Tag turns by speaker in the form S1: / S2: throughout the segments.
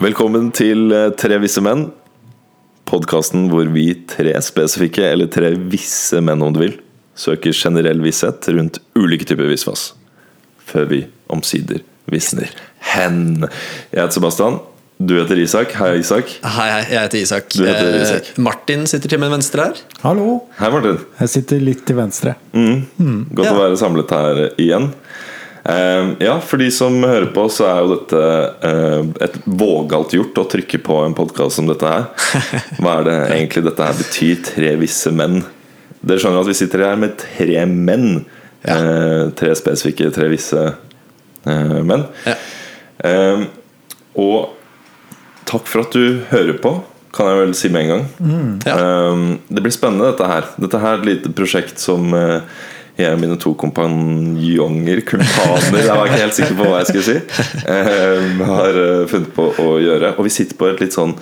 S1: Velkommen til eh, Tre visse menn. Podkasten hvor vi tre spesifikke, eller tre visse menn om du vil, søker generell visshet rundt ulike typer visvas. Før vi omsider visner hen. Jeg heter Sebastian. Du heter Isak. Hei, Isak.
S2: Hei, hei, jeg heter Isak.
S1: Du heter Isak.
S2: Eh, Martin sitter til min venstre her.
S3: Hallo,
S1: Hei, Martin.
S3: jeg sitter litt til venstre.
S1: Godt
S2: Ja.
S1: å være samlet her igjen. Eh, ja, for de som hører på, så er jo dette eh, et vågalt gjort å trykke på en podkast som dette her. Hva er det egentlig dette her betyr? Tre visse menn. Dere skjønner at vi sitter her med tre menn.
S2: Ja.
S1: Eh, tre spesifikke, tre visse eh, menn.
S2: Ja.
S1: Eh, og takk for at du hører på, kan jeg vel si med en gang.
S2: Ja.
S1: Eh, det blir spennende, dette her. Dette her er et lite prosjekt som eh, jeg og mine to kompanjonger, kumpaner Jeg var ikke helt sikker på hva jeg skulle si. eh, har eh, funnet på å gjøre. Og vi sitter på et litt sånn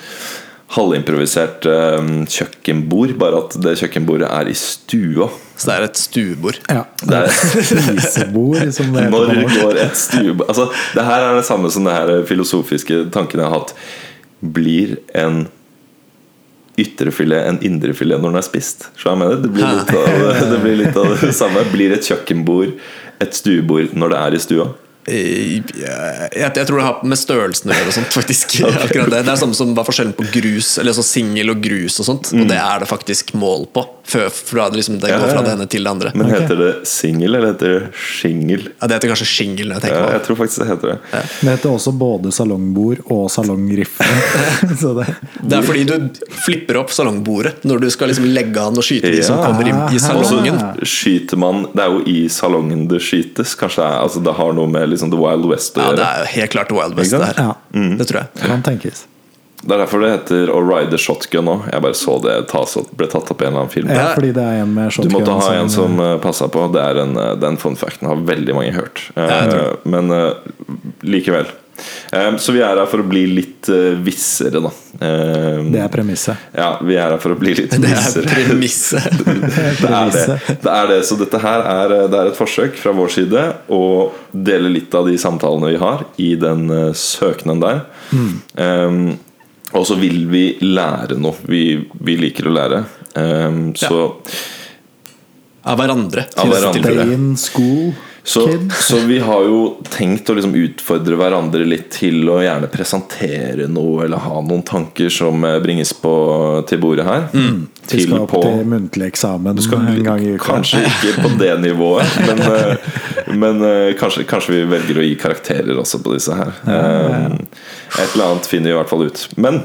S1: halvimprovisert eh, kjøkkenbord, bare at det kjøkkenbordet er i stua.
S2: Så det er et stuebord.
S3: Ja.
S1: Det er
S3: Spisebord, som det
S1: når
S3: heter. på norsk.
S1: går et stuebord Altså, det her er det samme som det her filosofiske tanken jeg har hatt. Blir en ytrefilet en indrefilet når den er spist? Så jeg mener, det blir litt av det, det, blir litt av det samme. Blir et kjøkkenbord et stuebord når det er i stua?
S2: I- Jeg, jeg tror det har med størrelsen å gjøre. og sånt faktisk Akkurat Det Det er samme som var forskjellen på grus Eller sånn singel og grus og sånt. Og det er det faktisk mål på. Før, fra, det liksom, det
S1: Mm. Ja,
S2: går
S1: ja,
S2: fra
S1: ja.
S2: det ene til det andre.
S1: Men heter det singel, eller heter det shingel?
S2: Ja, det heter kanskje shingel. når
S1: Ja,
S2: Jeg tenker meg
S1: jeg tror faktisk det heter det.
S3: Det heter også både salongbord og salongrifle. Så det
S2: om. Det er fordi du flipper opp salongbordet når du skal liksom legge an og skyte de som
S1: Ja.
S2: kommer inn
S1: Og
S2: i
S1: så
S2: salongen.
S1: skyter man Det er jo i salongen det skytes. Kanskje det, er, altså, det har noe med liksom, The Wild West å
S2: Ja,
S1: gjøre.
S2: Det er jo helt klart Wild West,
S1: Ikke
S2: det
S1: sant? Mm.
S2: her.
S3: Ja.
S2: Det tror jeg.
S3: kan tenkes.
S1: Det er derfor det heter å ride shotgun nå. Jeg bare så det tas opp, ble tatt opp i en eller annen film.
S3: Ja, fordi det er en med
S1: Du
S3: shotgun.
S1: måtte ha en som eh, passa på. Det er en, eh, den fun facten har veldig mange hørt. Eh,
S2: jeg
S1: Men eh, likevel. Eh, Så vi er her for å bli litt eh, vissere, da. Eh,
S3: Det er premisset.
S1: Ja, vi er her for å bli litt
S2: Det er
S1: vissere.
S2: premisset.
S1: Det er det. det er det. Så dette her er, eh, det er et forsøk fra vår side å dele litt av de samtalene vi har i den eh, søkenen der.
S3: Mm.
S1: Ehm, og så vil vi lære noe. Vi, vi liker å lære. Ehm, så,
S2: Av hverandre.
S1: Av
S2: i dette
S1: hverandre.
S2: tilfellet.
S3: Day in school
S1: så,
S3: kid.
S1: så vi har jo tenkt å liksom utfordre hverandre litt til å gjerne presentere noe eller ha noen tanker som eh, bringes på, til bordet her.
S3: Mm. Vi
S1: Til
S3: skal opp
S1: på
S3: til muntlig eksamen
S1: Skal vi-
S3: en gang i uka.
S1: Kanskje ikke på det nivået, men, eh, men eh, kanskje, kanskje vi velger å gi karakterer også på disse her. Eh, Et eller annet finner vi i hvert fall ut. Men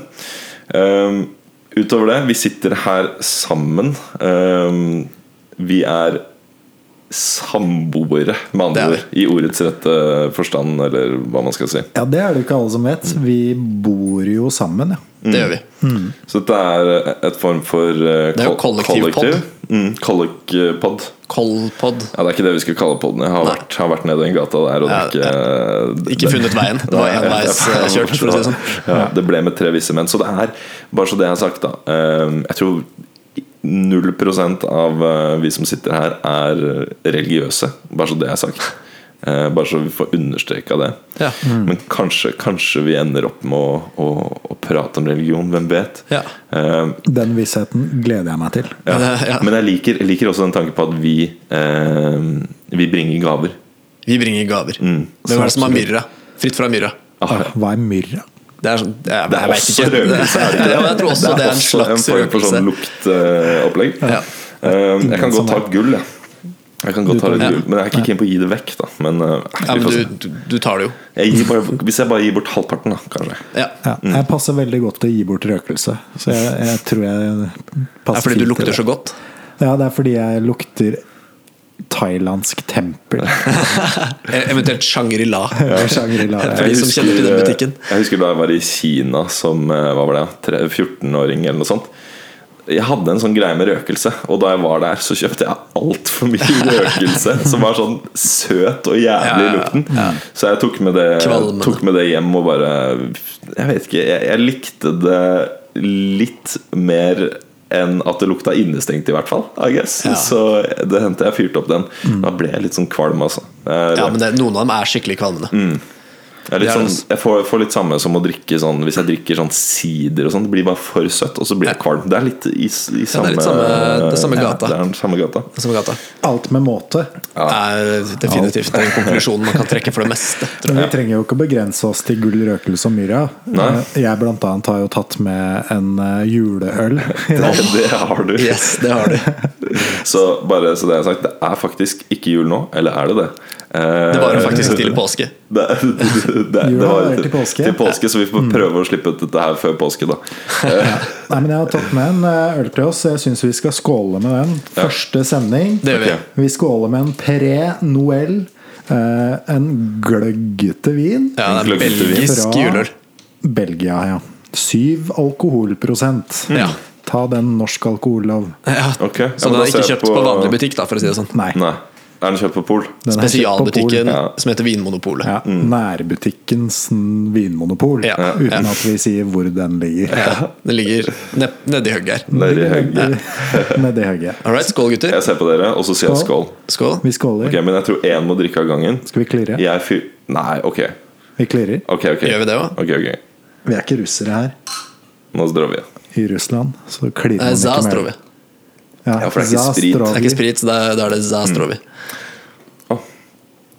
S1: eh, utover det, vi sitter her sammen. Eh, Vi er samboere, med
S2: Det
S1: andre
S2: er vi.
S1: ord. I ordets rette forstand, eller hva man skal si.
S3: Ja, det er det ikke alle som vet. Vi bor jo sammen, ja.
S1: Mm.
S2: Det gjør vi.
S1: Så dette er et form for eh,
S2: Det er jo
S1: kol-
S2: kollektivpod.
S1: Mm, kollektivpod.
S2: Kolpod.
S1: Ja, Det er ikke det vi skulle kalle podden. Jeg har,
S2: Nei.
S1: vært, har vært nede i den gata der, og det er
S2: Ja,
S1: ikke
S2: Ikke funnet veien. Det var
S1: Nei,
S2: enveiskjørt, for å si det sånn.
S1: Ja, det ble med tre visse menn. Så det er, bare så det jeg har sagt, da eh, Jeg tror 0 av eh, vi som sitter her, er religiøse. Bare så det jeg har sagt. Eh, Bare så vi får understreka det.
S2: Ja. Mm.
S1: Men kanskje, kanskje vi ender opp med å, å, å prate om religion. Hvem vet?
S2: Ja.
S1: Eh,
S3: Den vissheten gleder jeg meg til.
S1: ja.
S2: Men, eh, ja.
S1: Men jeg liker, jeg liker også den tanken på at vi, eh, vi bringer gaver.
S2: Vi bringer gaver.
S1: Mm.
S2: Hvem er det som har myrra? Fritt fra myrra.
S1: Ah, ja.
S3: Hva er myrra?
S2: Det er, sånn, jeg,
S1: Det er
S2: jeg vet
S1: også
S2: ikke.
S1: røkelse, er det ikke det?
S2: Ja, men jeg tror også det er en
S1: også form
S2: slags
S1: for
S2: røkelse.
S1: sånn luktopplegg. Um,
S2: Ja.
S1: jeg kan godt ta et gull, jeg. Jeg kan godt ta litt
S2: tar-
S1: gull, men jeg er ikke keen på å gi det vekk. da Men, eh, vi
S2: Ja, men
S1: får
S2: du,
S1: se.
S2: du, du tar det jo.
S1: jeg gir bare, Hvis jeg bare gir bort halvparten, da, kanskje.
S2: Ja.
S3: Ja, jeg passer veldig godt til å gi bort røkelse. Så jeg, jeg tror jeg
S2: Det er
S3: passer
S2: fordi du
S3: fint til
S2: lukter
S3: det.
S2: så godt.
S3: Ja, det er fordi jeg lukter thailandsk tempel.
S2: Eh, Eventuelt Shangri-La.
S3: Shangri-La.
S2: For de
S1: Jeg
S2: som kjenner til den butikken.
S1: eh, Jeg husker da jeg var i Kina som eh, hva var det, ja, tre- 14-åring eller noe sånt. Jeg hadde en sånn greie med røkelse, og da jeg var der, så kjøpte jeg altfor mye røkelse som var sånn søt og jævlig i
S2: Ja, ja,
S1: lukten. Så jeg tok med, det,
S2: Kvalmende.
S1: tok med det hjem og bare Jeg vet ikke, jeg, jeg likte det litt mer enn at det lukta innestengt, i hvert fall. I guess.
S2: Ja. Mm.
S1: Så det hendte jeg fyrte opp den. Da ble jeg litt sånn kvalm, altså. Det Mm. er-
S2: Ja, men det, Noen av dem er skikkelig kvalmende.
S1: Jeg, er litt
S2: Det er
S1: sånn, jeg får, får litt samme som å drikke sånn Hvis jeg drikker sånn sider og sånn, det blir bare for søtt, og så blir jeg kvalm. Det er litt i, s- i
S2: Ja,
S1: samme,
S2: det er litt samme- det er samme gata.
S1: Det er den samme gata.
S2: Som i gata.
S3: Alt med måte.
S2: er definitivt den konklusjonen man kan trekke for det meste. Tror
S3: Men vi trenger jo ikke å begrense oss til gull, røkelse og myra.
S1: Nei.
S3: Eh, Jeg blant annet har jo tatt med en eh, juleøl.
S1: Det, det har du.
S2: jeg. Yes, det har du.
S1: Så bare så det er sagt, det er faktisk ikke jul nå. Eller er det det? Eh,
S2: Det varer faktisk til påske.
S1: Det, det, det, det
S3: Jula
S1: var
S3: varer til påske.
S1: til påske, så vi
S2: Mm.
S1: får prøve å slippe ut dette her før påske, da. Eh,
S3: Nei, men Jeg har tatt med en eh, øl til oss, så jeg syns vi skal skåle med den. Første sending.
S2: Det gjør vi.
S1: Ok.
S3: Vi skåler med en Pré Noël. eh, En gløggete vin.
S2: Ja, det er
S1: Gløgg til vin.
S2: belgisk juleøl.
S3: Belgia, ja. Syv alkoholprosent.
S1: Mm.
S2: Ja.
S3: Ta den norsk alkohollov.
S2: Ja.
S1: Ok, ja,
S2: Så
S1: men
S2: den
S1: da
S2: er
S1: ser
S2: ikke
S1: jeg
S2: kjøpt på vanlig butikk, da, for å si det sånn.
S3: Nei.
S1: Nei. Er den kjøpt på Pol?
S3: Den er kjøpt på Pol.
S2: Spesialbutikken
S1: Ja.
S2: som heter Vinmonopolet.
S3: Ja,
S1: Mm.
S3: Nærbutikkens vinmonopol.
S2: Ja, ja.
S3: Uten at vi sier hvor den ligger.
S2: Ja, den ligger ned- nedi høgget her.
S1: Nedi høgget.
S3: Nedi høgget.
S2: All right, skål, gutter.
S1: Jeg ser på dere, og så sier jeg skål.
S3: Skål.
S2: Skål.
S3: Vi skåler.
S1: Ok, Men jeg tror én må drikke av gangen.
S3: Skal vi klirre?
S1: Jeg fyr... Nei, ok.
S3: Vi klirrer.
S1: Ok, ok.
S2: Gjør vi det også?
S1: Ok, ok.
S3: Vi er ikke russere her.
S1: Nå drar vi.
S3: I Russland så
S2: Det er
S3: klirrer man ikke mer.
S2: Zastrovi. Det
S1: Ja, for det er ikke sprit.
S2: er ikke sprit, så da da er det Zastrovi.
S1: Mm. Å,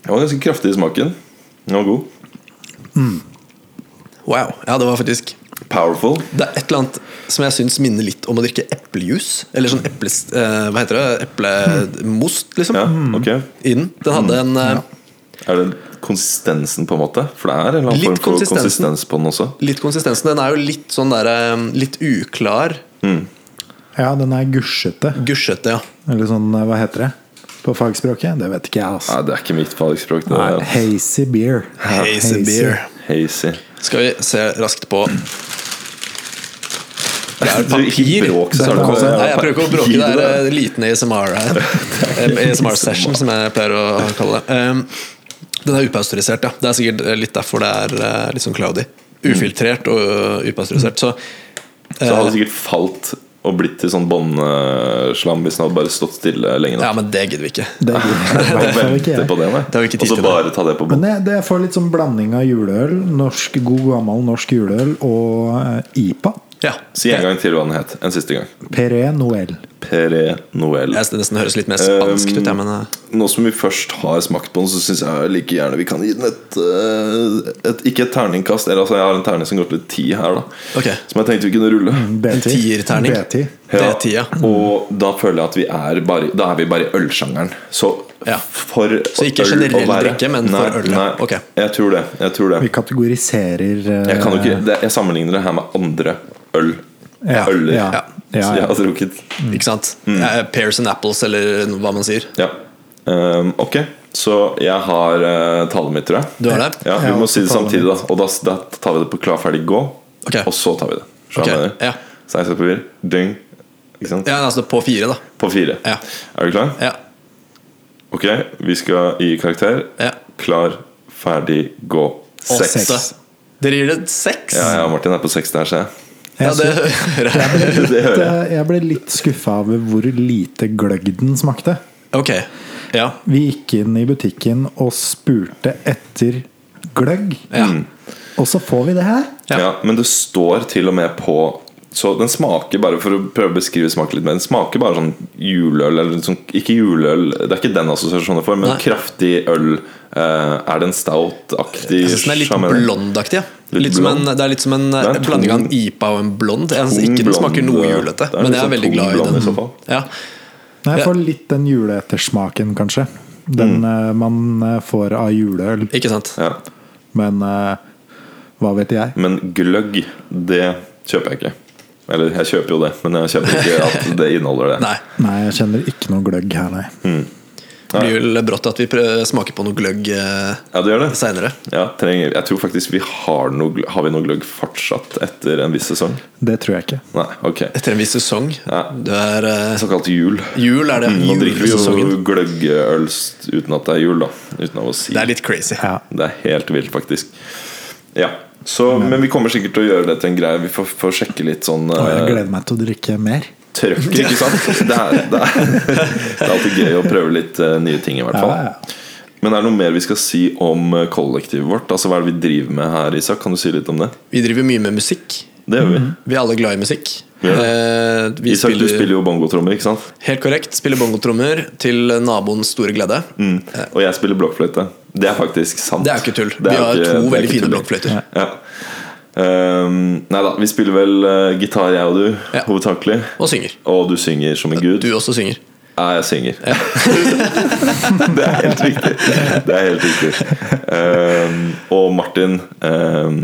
S1: Den var ganske kraftig i smaken. Den var god.
S2: Wow. Ja, det var faktisk
S1: Powerful.
S2: Det er et eller annet som jeg syns minner litt om å drikke eplejus. Eller sånn eples... eh, hva heter det? Eplemost, liksom.
S1: Ja, ok.
S2: I den. Den
S3: Mm.
S2: hadde en eh,
S1: Er det konsistensen, på en måte? For det er en eller annen
S2: Litt
S1: form for
S2: konsistensen.
S1: konsistens på den også.
S2: litt konsistensen. Den er jo litt sånn der eh, Litt uklar.
S3: Ja, den er gusjete.
S2: Gusjete, ja.
S3: Eller sånn, eh, hva heter det? På fagspråket? Det vet ikke jeg, altså.
S1: Nei, det er ikke mitt fagspråk. Det
S3: Nei,
S1: er
S3: hazy beer.
S2: Hazy beer.
S1: hazy.
S2: Skal vi se raskt på Det er
S1: Du, ikke
S2: papir.
S1: bråk, så er det
S3: Dette
S1: bare-
S3: er-
S2: Nei, jeg prøver ikke å bråke.
S1: Papir,
S2: Det er en liten ASMR her. Eh, ASMR-session, som jeg pleier å kalle det. Um, Den er upasteurisert, ja. Det er sikkert eh, litt derfor det er eh, litt sånn cloudy. Ufiltrert og eh, upasteurisert. Så
S1: Mm.
S2: eh,
S1: Så hadde det sikkert falt og blitt til sånn båndslam hvis den hadde bare stått stille lenge
S2: ja,
S1: nok.
S2: men det gidder vi ikke.
S3: Det gidder jeg i hvert fall ikke
S1: Vente på
S3: jeg.
S1: det, nei.
S2: Det har vi ikke tid
S1: Og så
S2: til,
S1: bare ta det på
S3: Men
S1: bånd.
S3: det, det får litt sånn blanding av juleøl, norsk, god gammel norsk juleøl og eh, IPA.
S2: Ja.
S1: Si en gang til hva den het. En siste gang.
S3: Peré Noël.
S1: Pere Noel.
S2: Jeg synes det nesten høres litt mer spansk ut, jeg, men eh,
S1: Nå som vi først har smakt på den, så syns jeg like gjerne vi kan gi den et, eh, et Ikke et terningkast, eller altså jeg har en terning som går til ti her, da.
S2: Ok.
S1: Som jeg tenkte vi kunne rulle.
S3: B10.
S2: En tierterning.
S3: B10.
S2: det er Mm. tida.
S1: Og da føler jeg at vi er bare Da er vi bare i ølsjangeren. Så
S2: Ja.
S1: for
S2: Så ikke
S1: øl å
S2: generell
S1: være-
S2: drikke, men for øl, ja.
S1: Nei,
S2: Ok.
S1: jeg tror det. Jeg tror det.
S3: Vi kategoriserer eh,
S1: Jeg, kan jo ikke, det, jeg sammenligner det her med andre øl.
S3: Ja,
S1: Øler.
S3: ja,
S1: Ja.
S3: ja,
S1: Så
S3: ja.
S1: jeg har drukket.
S2: Ikke sant?
S1: Mm.
S2: Eh, Pears and apples, eller hva man sier.
S1: Ja. Ehm, ok, så jeg har eh, tallet mitt, tror jeg.
S2: Du har det?
S1: Ja, vi
S3: Jeg har
S1: må
S3: også
S1: si det
S3: tallet
S1: samtidig, da. Og da, da tar vi det på klar, ferdig, gå.
S2: Ok.
S1: Og så tar vi det. Skjønner du hva jeg
S2: Ok,
S1: mener?
S2: ja.
S1: Stein, saks, papir. Dyng. Ikke sant?
S2: Ja, altså på fire, da.
S1: På fire.
S2: Ja.
S1: Er du klar?
S2: Ja.
S1: Ok, vi skal gi karakter.
S2: Ja.
S1: Klar, ferdig, gå.
S2: Og
S1: Seks.
S2: åtte. Dere gir det seks?
S1: Ja, ja, Martin er på seks der, ser jeg.
S2: Ja,
S3: Jeg
S2: det
S3: synes-
S2: hører jeg.
S1: Det hører jeg.
S3: Eh, Jeg ble litt skuffa over hvor lite gløgg den smakte.
S2: Ok, ja,
S3: Vi gikk inn i butikken og spurte etter gløgg.
S2: ja.
S3: Og så får vi det her!
S2: Ja.
S1: Ja. Men det står til og med på Så den smaker bare For å prøve å beskrive smaken litt mer Den smaker bare sånn juleøl eller sånn, Ikke juleøl, det er ikke den assosiasjonen jeg får Men
S2: Nei.
S1: kraftig øl eh, Er det en stout-aktig
S2: Jeg synes den er litt
S1: sjaman-
S2: blondaktig. Ja.
S1: Litt
S2: Litt som en,
S1: blond.
S2: det er litt som en eh,
S1: er en tung-
S2: blanding av en IPA og en blond. Jeg synes
S1: tung
S2: ikke den
S1: blond,
S2: smaker noe
S1: det er-
S2: julete,
S1: det er
S2: men jeg
S1: liksom
S2: er veldig
S1: tung
S2: glad i
S1: blond i
S2: den.
S1: så fall.
S2: Ja.
S3: Nei, Jeg får litt den juleettersmaken, kanskje. Den
S1: Mm.
S3: eh, man eh, får av juleøl.
S2: Ikke sant?
S1: ja.
S3: Men eh, hva vet jeg?
S1: Men gløgg, det kjøper jeg ikke Eller jeg kjøper jo det Men jeg kjøper ikke at det inneholder det
S2: Nei.
S3: Nei, jeg kjenner ikke noe gløgg her,
S1: Mm.
S3: nei.
S2: Det blir vel brått at vi prø- smaker på noe gløgg eh,
S1: Ja, det gjør det
S2: senere.
S1: ja, trenger, Jeg tror faktisk vi har noe gl- Har vi noe gløgg fortsatt etter en viss sesong?
S3: Det tror jeg ikke.
S1: Nei, ok
S2: Etter en viss sesong.
S1: Ja.
S2: Det er eh,
S1: Såkalt jul
S2: Jul er det.
S1: Mm, Nå drikker vi
S2: Julesesongen.
S1: jo gløggøl s- uten at det er jul, da. Uten av å si.
S2: Det er litt crazy.
S3: Ja.
S1: Det er helt vilt, faktisk. Ja. Så, men vi kommer sikkert til å gjøre det til en greie. Vi får, får sjekke litt sånn
S3: Og jeg
S1: uh,
S3: gleder meg til å drikke mer.
S1: trøkk, ikke sant? Det er, det, er, det er alltid gøy å prøve litt eh, nye ting, i hvert
S3: Ja,
S1: fall.
S3: ja.
S1: Men er det noe mer vi skal si om eh, kollektivet vårt? Altså Hva er det vi driver med her, Isak? Kan du si litt om det?
S2: Vi driver mye med musikk.
S1: Det gjør vi.
S2: Vi er alle glad i musikk.
S1: Ja.
S2: Eh, Mm. vi
S1: Isak, du spiller jo bongotrommer, ikke sant?
S2: Helt korrekt. Spiller bongotrommer til naboens store glede.
S1: Mm. Og jeg spiller blokkfløyte. Det er faktisk sant.
S2: Det er jo ikke tull.
S1: Det er
S2: Vi har
S1: ikke- det
S2: to
S1: er
S2: veldig
S1: ikke
S2: fine
S1: tull.
S2: blokkfløyter.
S1: Ja. Ehm, nei da, vi spiller vel eh, gitar, jeg og du,
S2: Ja.
S1: hovedsakelig.
S2: Og synger.
S1: Og du synger som en gud.
S2: Du også synger.
S1: Ja, jeg synger. det er helt riktig. Det er helt riktig. Ehm, og Martin, ehm,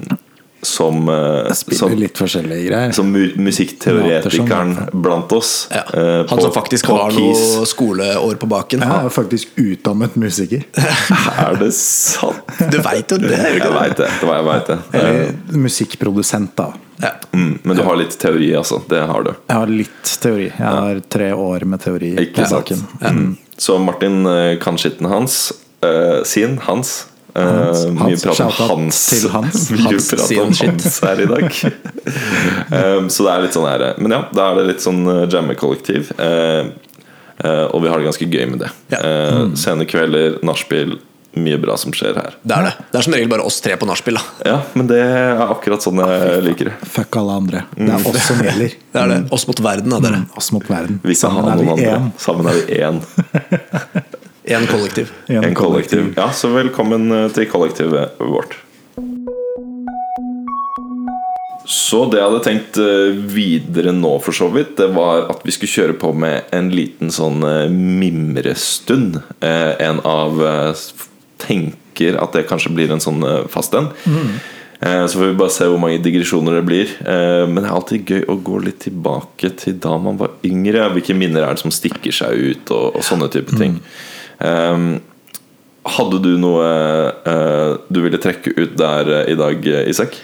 S1: som, eh,
S4: Spiller
S1: som,
S4: litt forskjellige greier.
S1: som mu musikkteoretikeren blant oss
S2: Ja.
S1: eh,
S2: Han
S1: på-
S2: som faktisk
S1: på
S2: har
S1: Keys.
S2: noe skoleår på baken.
S3: Jeg er jo faktisk utdannet musiker.
S1: Er det sant?
S2: Du veit jo det! gjør du
S1: Jeg
S2: ikke det?
S1: veit det. det, var jeg vet det.
S4: Eller musikkprodusent, da.
S2: Ja.
S1: Mm, men du har litt teori, altså. Det har du.
S4: Jeg har litt teori. Jeg har tre år med teori
S1: Ikke
S4: på
S1: sant.
S4: saken.
S1: Mm. Så Martin eh, kan skitten hans. eh, sin. Hans. Eh, mye
S4: Hans.
S1: prat om
S4: Shoutout
S1: hans.
S4: til Hans.
S1: Mye
S2: Hans
S1: prat
S2: sin
S1: om
S2: shit.
S1: hans her i dag. Eh, så det er litt sånn her eh, Men ja, da er det litt sånn eh, jammekollektiv. eh, eh, og vi har det ganske gøy med det.
S2: Ja.
S1: Eh,
S4: Mm.
S1: sene kvelder, nachspiel. Mye bra som skjer her.
S2: Det er det. Det er som regel bare oss tre på nachspiel. da.
S1: Ja, men det er akkurat sånn jeg liker det.
S4: Fuck alle andre.
S3: Det
S1: Mm.
S3: er oss som gjelder.
S2: Det er det. Oss mot verden, da, dere.
S4: Oss mot verden.
S1: Vi kan
S4: Sammen
S1: ha
S4: er
S1: noen
S4: vi
S1: andre.
S4: én.
S1: Sammen er vi én.
S2: Én kollektiv.
S4: En
S1: En kollektiv. Ja, så velkommen eh, til kollektivet vårt. Så det jeg hadde tenkt eh, videre nå, for så vidt, det var at vi skulle kjøre på med en liten sånn eh, mimrestund. Eh, En av eh, s- tenker at det kanskje blir en sånn eh, fast en. Eh, Så får vi bare se hvor mange digresjoner det blir. Eh, Men det er alltid gøy å gå litt tilbake til da man var yngre. Hvilke minner er det som stikker seg ut, og, og sånne type ting. Eh, hadde du noe eh, du ville trekke ut der eh, i dag, eh, Isak?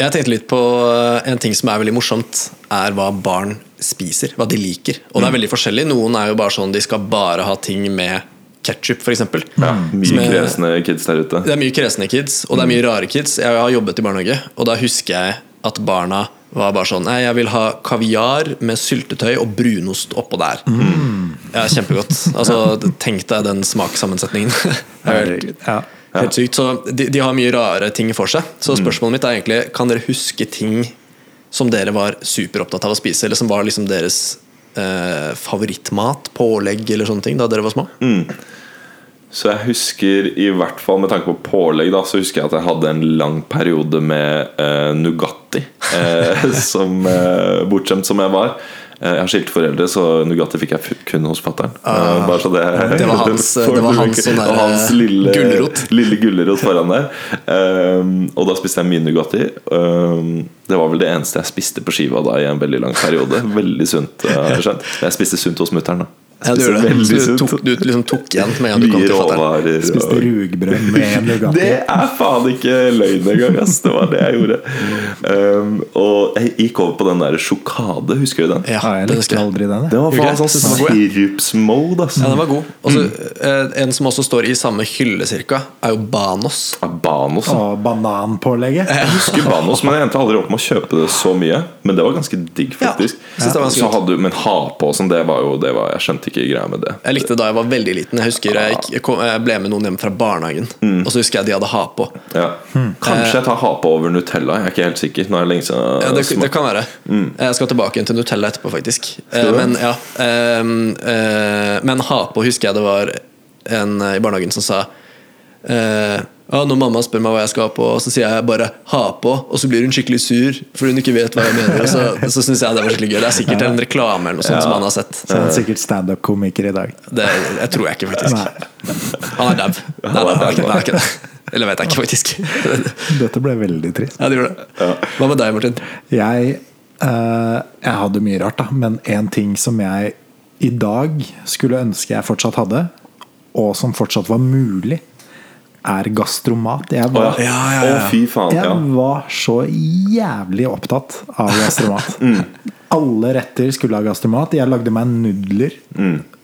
S2: Jeg tenkte litt på eh, en ting som er veldig morsomt, er hva barn spiser. Hva de liker. Og det
S1: Mm.
S2: er veldig forskjellig. Noen er jo bare sånn de skal bare ha ting med ketsjup, f.eks.
S1: Ja, mye
S2: Mm. Som jeg-
S1: kresne kids der ute.
S2: Det er mye kresne kids, og det
S1: Mm.
S2: er mye rare kids. Jeg har jobbet i barnehage, og da husker jeg at barna var bare sånn Nei, jeg vil ha kaviar med syltetøy og brunost oppå der.
S1: Mm.
S2: Ja, kjempegott. Altså, tenk deg den smakssammensetningen. Det er helt,
S4: Ja.
S2: helt sykt. Så de, de har mye rare ting for seg. Så
S1: Mm.
S2: spørsmålet mitt er egentlig Kan dere huske ting som dere var superopptatt av å spise, eller som var liksom deres eh, favorittmat, pålegg eller sånne ting da dere var små?
S1: Mm. Så jeg husker, i hvert fall med tanke på pålegg, da, så husker jeg at jeg hadde en lang periode med eh, Nugatti. Eh, som eh, bortskjemt som jeg var. Eh, jeg har skilte foreldre, så Nugatti fikk jeg fu- kun hos fatter'n. Eh, bare så det,
S2: Ah. Det var hans- det var hans sånn der,
S1: Og hans lille
S2: gulrot.
S1: Lille gulrot foran der. Eh, og da spiste jeg mye Nugatti. Eh, det var vel det eneste jeg spiste på skiva da i en veldig lang periode. Veldig sunt. eh, har jeg skjønt. Jeg spiste sunt hos mutter'n, da.
S2: Ja, du
S1: Spiste
S2: gjorde det.
S1: veldig
S2: Så du
S1: sunt.
S2: tok, du liksom tok igjen med en gang du kom
S1: Mye
S2: til fatter'n.
S1: råvarer.
S3: Spiste
S1: og-
S3: rugbrød med en Nugatti.
S1: det er faen ikke løgn engang, ass. Det var det jeg gjorde. Um, og jeg gikk over på den der sjokade, husker du den?
S2: Ja,
S4: Ja, Ah, jeg
S2: den
S4: likte
S2: husker jeg.
S4: aldri den. jeg.
S1: Det var faen
S2: Husker
S1: sånn
S2: jeg. Den var god,
S1: sirupsmode, ass.
S2: Ja, den var god. Og så,
S4: Mm.
S2: eh, en som også står i samme hylle, cirka, er jo Banos.
S1: Ja, Banos. Jeg
S3: Og bananpålegget.
S1: husker Banos, men jeg endte aldri opp med å kjøpe det så mye. Men det var ganske digg,
S2: Ja,
S1: faktisk.
S2: jeg synes det var
S1: Så
S2: ganske
S1: hadde, men ha på og sånn, det var jo det var, Jeg skjønte ikke greia med det.
S2: Jeg likte det da jeg var veldig liten. Jeg husker jeg, gikk- jeg, kom, jeg ble med noen hjem fra barnehagen,
S4: Mm.
S2: og så husker jeg de hadde ha på.
S1: Ja. Kanskje jeg tar ha på over Nutella, jeg er ikke helt sikker. Nå er det lenge siden jeg
S2: Hmm. Eh. Ja, det,
S1: smakte.
S2: det kan være. Jeg skal tilbake igjen til Nutella etterpå, faktisk. Eh, Men, ja, ehm, eh, men ha på husker jeg det var en eh, i barnehagen som sa eh, «Ja, når mamma spør meg hva jeg skal ha på, så sier jeg bare 'ha på', og så blir hun skikkelig sur fordi hun ikke vet hva jeg mener. Og så, så syns jeg det var skikkelig gøy. Det er sikkert en reklame eller noe sånt som han har sett.
S4: Så han er sikkert standup-komiker i dag.
S2: Det, jeg tror jeg ikke, faktisk. Han er dau. Nei,
S1: Han er
S2: nei, han er
S1: dau,
S2: ikke-
S1: da.
S2: han er ikke det. Eller vet jeg ikke, faktisk.
S4: Dette ble veldig trist.
S2: Ja, det gjorde det. Hva med deg, Martin?
S4: Jeg, eh, jeg hadde mye rart, da. Men én ting som jeg i dag skulle ønske jeg fortsatt hadde, og som fortsatt var mulig, er gastromat. Jeg
S1: Å,
S4: var,
S1: ja.
S2: Ja, ja, ja.
S1: Å, fy faen. Ja.
S4: jeg var så jævlig opptatt av gastromat. Alle retter skulle ha gastromat. Jeg lagde meg nudler.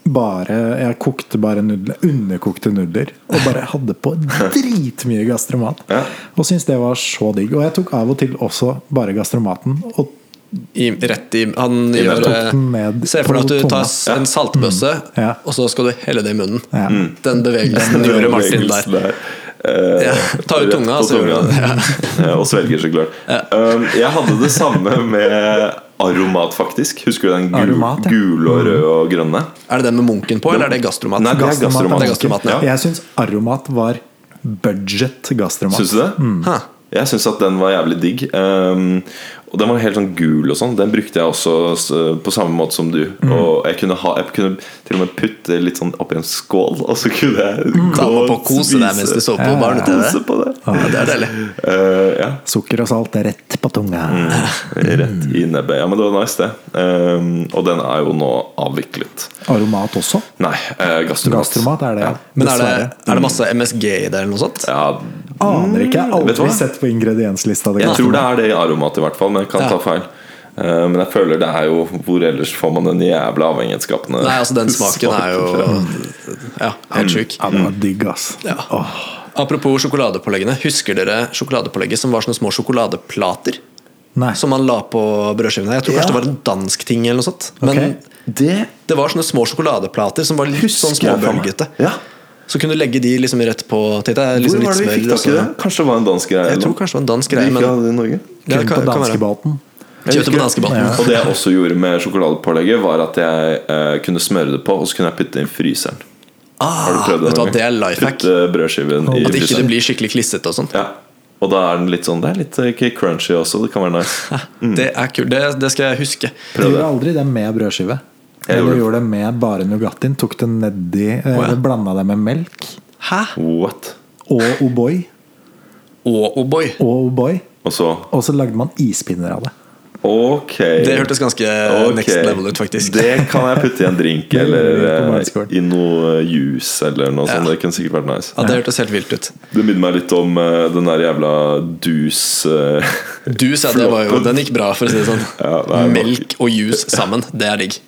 S4: Bare, jeg kokte bare nudler, underkokte nudler. Og bare hadde på dritmye gastromat.
S1: Ja.
S4: Og syntes det var så digg. Og jeg tok av og til også bare gastromaten og
S2: i, rett i Han
S1: munnen.
S2: gjør
S3: Tok den ned
S2: eh, Se for deg at
S3: på
S2: du tar
S3: tunga.
S2: en saltbøsse,
S3: Ja.
S2: og så skal du helle det i munnen.
S3: Ja. Mm.
S2: Den bevegelsen gjorde Martin der.
S1: Eh,
S2: Ja, ta ut
S1: rett
S2: tunga,
S1: på
S2: så gjorde du det. Ja.
S1: Ja, og svelger, så klart. Um, jeg hadde det samme med aromat, faktisk. Husker du den gul,
S3: Aromat, ja.
S1: gule og røde og grønne?
S2: Er det den med munken på, eller er det gastromat?
S1: Nei,
S2: Det er
S1: gastromat.
S2: Det er gastromat,
S1: Ja.
S2: ja.
S3: Jeg syns Aromat var budget gastromat.
S1: Syns du det?
S2: Hæ.
S1: Jeg syns at den var jævlig digg. Um, og den var helt sånn gul og sånn. Den brukte jeg også s- på samme måte som du. Og jeg kunne, ha, jeg kunne til og med putte litt sånn oppi en skål, og så kunne jeg
S2: Ta
S1: gå
S2: Mm.
S1: og
S2: på og kose deg mens du så på
S3: Ja.
S2: barne-TV.
S1: Kose på det.
S2: Ja, det er deilig.
S1: Eh, ja.
S3: Sukker og salt rett på tunga.
S1: Mm. Rett i nebbet. Ja, men det var nice, det. Um, og den er jo nå avviklet.
S3: Aromat også.
S1: Nei, eh, gastromat.
S3: Gastromat er det, ja.
S2: Men er det,
S3: Dessverre.
S2: er det masse MSG i det, eller noe sånt?
S1: Ja,
S3: Aner ikke. Jeg har
S1: Vet du hva?
S3: Aldri sett på ingredienslista. Det
S1: jeg
S3: kan
S1: tror det er det i aromat, i hvert fall, men jeg kan
S2: Ja.
S1: ta feil. Eh, men jeg føler det er jo Hvor ellers får man den jævla eh, avhengighetsskapende
S2: Nei, altså den smaken er jo Ja, helt sjuk.
S3: ja, det var digg, ass.
S2: Ja.
S3: Åh.
S2: Apropos sjokoladepåleggene. Husker dere sjokoladepålegget som var sånne små sjokoladeplater?
S3: Nei.
S2: Som man la på brødskivene? Jeg tror
S3: Ja.
S2: kanskje det var en dansk ting eller noe sånt. Men
S3: Ok.
S1: Det
S2: det var sånne små sjokoladeplater som var litt sånn
S1: husker jeg fra meg.
S2: småbølgete.
S1: Ja.
S2: Så kunne du legge de liksom rett på tenkte jeg,
S1: Hvor
S2: liksom
S1: var det vi
S2: litt
S1: fikk tak i
S2: smør. og
S1: det?
S2: så-
S1: altså. Kanskje det var en dansk greie?
S2: Jeg tror
S1: eller noe?
S2: kanskje det var en dansk
S1: Vi
S2: greie,
S1: ikke
S2: men
S1: hadde det i Norge?
S2: Ja, det
S3: Kun
S2: kan-
S3: på
S2: kan være.
S3: danskebåten.
S2: Kjøpte på
S1: husker-
S2: danskebåten.
S1: Og det jeg også gjorde med sjokoladepålegget, var at jeg eh, kunne smøre det på, og så kunne jeg putte det i fryseren. Har du
S2: Ah,
S1: prøvd det?
S2: vet du
S1: noen
S2: hva, det er
S1: gang?
S2: lifehack.
S1: Putte brødskiven i
S2: At ikke det
S1: fryseren.
S2: blir skikkelig klissete og sånn.
S1: Ja. Og da er den litt sånn Det er litt eh, ikke crunchy også, det kan være nice.
S2: Det er kult. Det, det skal jeg huske.
S1: Prøv
S3: Jeg
S1: det.
S3: gjorde aldri det med brødskive.
S1: Jeg
S3: Jeg
S1: gjorde det.
S3: gjorde det med bare Nugattien. Tok det nedi oh,
S2: ja.
S3: Blanda det med melk.
S2: Hæ?
S1: What?
S3: Og O'boy.
S2: Og O'boy.
S3: Og O'boy.
S1: Og så
S3: Og så lagde man ispinner av det.
S1: Ok.
S2: Det hørtes ganske eh,
S1: Ok.
S2: next level ut, faktisk.
S1: Det kan jeg putte i en drink eller
S3: gjør vi på
S1: eh,
S3: barneskolen.
S1: i noe juice eller noe sånt.
S2: Ja.
S1: Det kunne sikkert vært nice.
S2: Ja, det hørtes helt vilt ut.
S1: Det minner meg litt om eh, den der jævla dus eh,
S2: Du sa det var jo Den gikk bra, for å si det sånn.
S1: Ja, nei, bak-
S2: Melk og juice sammen, det er digg.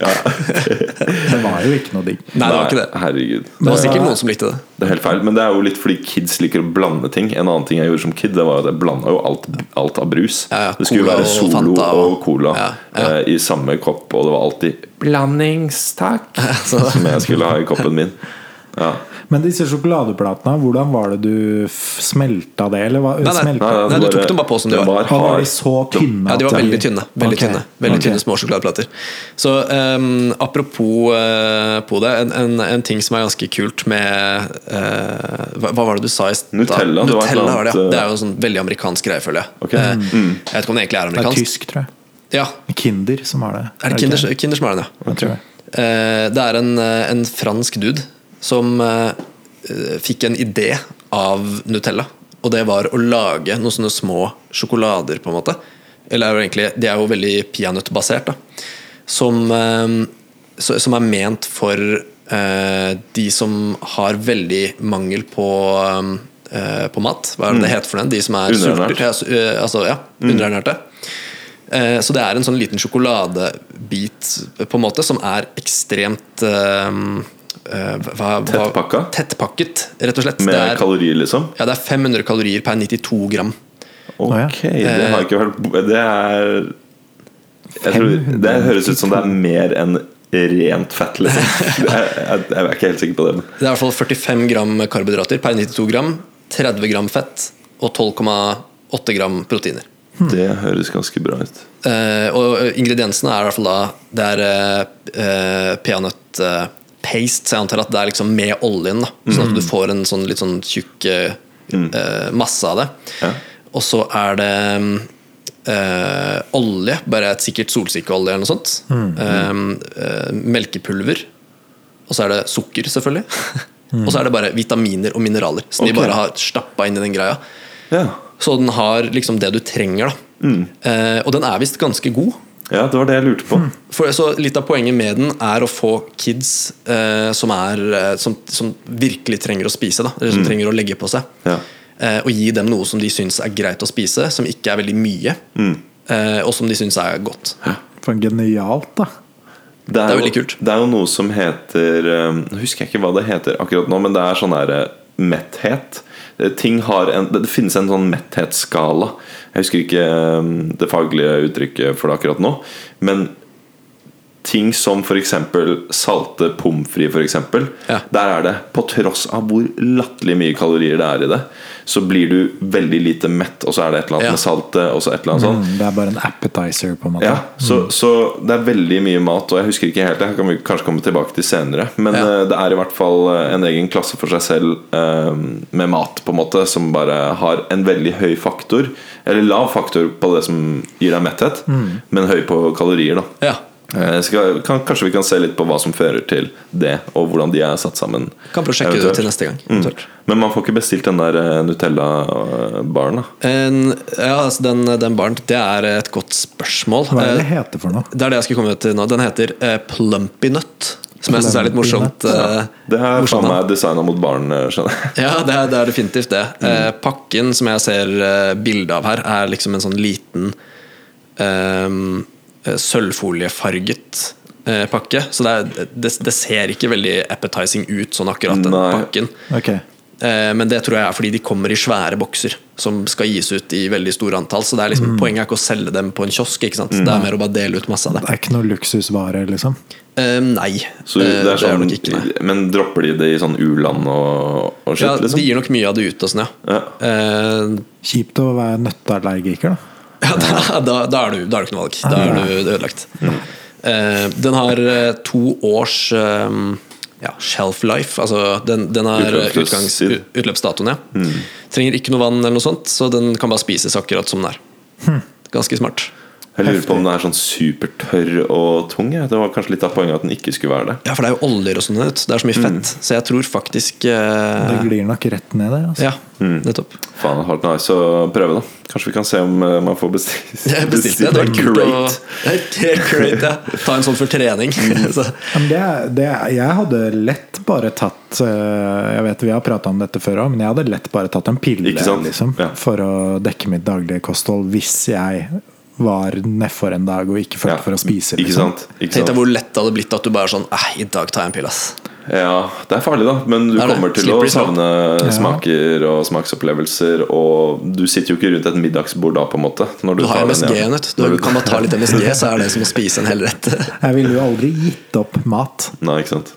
S3: Det var jo ikke noe digg.
S2: Nei, det var ikke det.
S1: Nei, Herregud.
S2: Det var
S3: Men-
S2: sikkert noen som likte det.
S1: Det er helt feil, men det er jo litt fordi kids liker å blande ting. En annen ting jeg gjorde som kid, det var at jeg blanda jo alt, alt av brus.
S2: Ja, ja,
S1: det skulle jo
S2: cola
S1: være
S2: og
S1: Solo og,
S2: Fanta og-
S1: Cola
S2: Ja, ja.
S1: Eh, i samme kopp, og det var alltid 'blandings, takk'
S2: Så-
S1: som jeg skulle ha i koppen min. Ja.
S3: Men disse sjokoladeplatene, hvordan var det du f- smelta det? Eller hva,
S2: Nei, nei.
S3: smelta
S2: Nei, du tok dem bare på som de
S1: den
S2: var.
S3: Og var
S1: hard.
S3: de så tynne?
S2: Ja, de var
S3: at
S2: veldig tynne. Veldig
S3: Ok,
S2: tynne, veldig
S3: ok.
S2: tynne små sjokoladeplater. Så ehm, apropos eh, på det, en, en, en ting som er ganske kult med eh, hva, hva var det du sa i stad?
S1: Nutella, det var et eller
S2: Nutella var det, ja.
S1: annet, eh,
S2: det er jo en sånn veldig amerikansk greie, føler jeg.
S1: Ok. Mm.
S2: Eh, Jeg vet ikke om det egentlig er
S3: Det er
S2: amerikansk.
S3: tysk, tror jeg.
S2: Ja,
S3: Kinder som har det.
S2: er det
S3: ikke
S2: Kinder, Kinder som er den, ja.
S3: Jeg tror det.
S2: Eh, Det er en, eh, en fransk dude som eh, eh, fikk en idé av Nutella. Og det var å lage noen sånne små sjokolader, på en måte. Eller er jo egentlig, de er jo veldig peanøttbasert, da. Som, eh, så- som er ment for eh, de som har veldig mangel på eh, på mat. Hva er det det heter for den? De som er
S1: Underernært.
S2: sulter? Ja, su- eh, altså, ja,
S1: Mm.
S2: underernærte. Eh, Så det er en sånn liten sjokoladebit på en måte som er ekstremt eh, eh, hva, hva,
S1: Tettpakka?
S2: Tettpakket, rett og slett.
S1: Med
S2: Det er,
S1: kalorier, liksom?
S2: ja, det er 500 kalorier per 92 gram.
S3: ja.
S1: Ok, det har jeg ikke vært Det er jeg tror, Det
S3: 500
S1: høres ut som det er mer enn rent fett, liksom. Jeg, jeg, jeg er ikke helt sikker på det. men-
S2: Det er i hvert fall 45 gram karbohydrater per 92 gram, 30 gram fett og 12,8 gram proteiner.
S3: Hmm.
S1: Det høres ganske bra ut.
S2: Eh, og ingrediensene er i hvert fall da Det er eh, eh, peanøtt eh, paste, så jeg antar at det er liksom med oljen. da Sånn
S1: Mm.
S2: at du får en sånn litt sånn tjukk eh, eh, masse av det.
S1: Ja.
S2: Og så er det mm, eh, olje, bare et sikkert solsikkeolje eller noe sånt.
S1: Mm.
S2: Eh, eh, melkepulver. Og så er det sukker, selvfølgelig. Og så er det bare vitaminer og mineraler, som
S1: Mm. Ok.
S2: de bare har stappa inn i den greia.
S1: Ja,
S2: Så den har liksom det du trenger, da.
S1: Mm.
S2: Eh, og den er visst ganske god.
S1: ja det var det jeg lurte på.
S2: For, så litt av poenget med den er å få kids eh, som, er, eh, som, som virkelig trenger å spise, da, eller som trenger å legge på seg,
S1: Mm. Ja.
S2: eh, og gi dem noe som de syns er greit å spise, som ikke er veldig mye,
S1: Mm.
S2: eh, og som de syns er godt.
S3: For genialt, da.
S1: Det
S2: Det er
S1: jo-
S2: veldig kult.
S1: Det er jo noe ehm, som heter eh, Nå husker jeg ikke hva det heter akkurat nå, men det er sånn der eh, metthet. eh, ting har en, det, det finnes en sånn metthetsskala. Jeg husker ikke eh, det faglige uttrykket for det akkurat nå. Men ting som f.eks. salte pommes frites, for eksempel,
S2: Ja.
S1: Der er det, på tross av hvor latterlig mye kalorier det er i det, så blir du veldig lite mett, og så er det et eller annet
S2: Ja.
S1: med saltet, og så et eller annet sånt.
S4: Mm, Det er bare en appetizer, på en måte.
S1: Ja, så, så det er veldig mye mat, og jeg husker ikke helt det. Jeg kan vi kanskje komme tilbake til senere. Men
S2: Ja.
S1: eh, det er i hvert fall eh, en egen klasse for seg selv eh, med mat, på en måte, som bare har en veldig høy faktor. Eller lav faktor på det som gir deg metthet, men høy på kalorier, da.
S2: Mm. Ja.
S1: Eh, Skal, kan, kanskje vi kan se litt på hva som fører til det, og hvordan de er satt sammen.
S2: Kan prøve å sjekke det
S1: Eventuelt.
S2: til neste gang.
S1: Mm.
S2: eventuelt.
S1: Men man får ikke bestilt den der eh, Nutella-baren, da.
S2: En, ja, altså den, den baren, det er et godt spørsmål.
S4: Hva er det det
S2: Eh,
S4: heter for noe?
S2: Det er det jeg skulle komme til nå. Den heter eh, Plumpy Nut. Som jeg syns er litt
S4: Plumpy
S2: morsomt. eh,
S1: Det her
S2: morsomt
S1: faen
S2: navn.
S1: meg designa mot barn, eh, skjønner jeg.
S2: Ja, det er, det er definitivt det.
S1: Mm.
S2: Eh, pakken som jeg ser eh, bilde av her, er liksom en sånn liten ehm, eh, sølvfoliefarget eh, pakke. Så det, er, det, det ser ikke veldig appetizing ut, sånn akkurat den
S1: Nei.
S2: pakken.
S4: Ok,
S2: Eh, men det tror jeg er fordi de kommer i svære bokser som skal gis ut i veldig store antall. Så det er
S1: Mm.
S2: liksom, poenget er ikke å selge dem på en kiosk, ikke sant? det er mer å bare dele ut masse av det.
S4: Det er ikke noe luksusvare, liksom?
S2: Eh, nei,
S1: Så
S2: Eh,
S1: det er sånn,
S2: nok ikke. Nei.
S1: men dropper de det i sånn u-land og, og shit,
S2: Ja, de
S1: liksom?
S2: gir nok mye av det ut og sånn, ja.
S1: Ja.
S2: Eh,
S4: Kjipt å være nøtteallergiker, da.
S2: ja da, da, da, er du, da er det ikke noe valg. Da er du ødelagt. Eh, den har eh, to års eh, ja, shelf life, altså den, den har
S1: Utløpstid. Mm.
S2: utgangs, u- utløpsdatoen, ja. Trenger ikke noe vann eller noe sånt, så den kan bare spises akkurat som den er. Ganske smart.
S1: Jeg lurer på om den er sånn supertørr og tung. jeg. Det var kanskje litt av poenget at den ikke skulle være det.
S2: Ja, for det er jo oljer og sånn ut. Det er
S1: Mm.
S2: så mye fett. Så jeg tror faktisk
S4: Det
S2: eh,
S4: glir nok rett ned der. Altså.
S2: Ja,
S1: Mm.
S2: nettopp.
S1: Faen, hardt nice å prøve, da. Kanskje vi kan se om eh, man får bestilt,
S2: Jeg bestilte det.
S1: bestilt
S2: Det var
S1: en
S2: kult å
S1: crate.
S2: Det er helt great, ja. Ta en sånn for trening.
S1: Mm.
S2: så.
S4: Ja, men Det, er- det, er- jeg hadde lett bare tatt eh, Jeg vet vi har prata om dette før òg, men jeg hadde lett bare tatt en pille
S1: Ikke sant?
S4: liksom,
S1: Ja.
S4: for å dekke mitt daglige kosthold hvis jeg var nedfor en dag og ikke følte for å spise.
S1: Ikke
S4: Liksom.
S1: sant? Ikke
S2: Tenk deg
S1: sant?
S2: hvor lett det hadde blitt at du bare sånn "Eh, I dag tar jeg en pille, ass.
S1: Ja, det er farlig, da. Men du
S2: Det er det.
S1: kommer til å
S2: Slippery slope.
S1: savne smaker og smaksopplevelser. Og du sitter jo ikke rundt et middagsbord da, på en måte. Når
S2: Du har
S1: tar den
S2: MSG,
S1: igjen.
S2: vet du. Du kan bare ta litt MSG, så er det som å spise en hel rett.
S4: Jeg ville jo aldri gitt opp mat,
S1: Nei, ikke sant.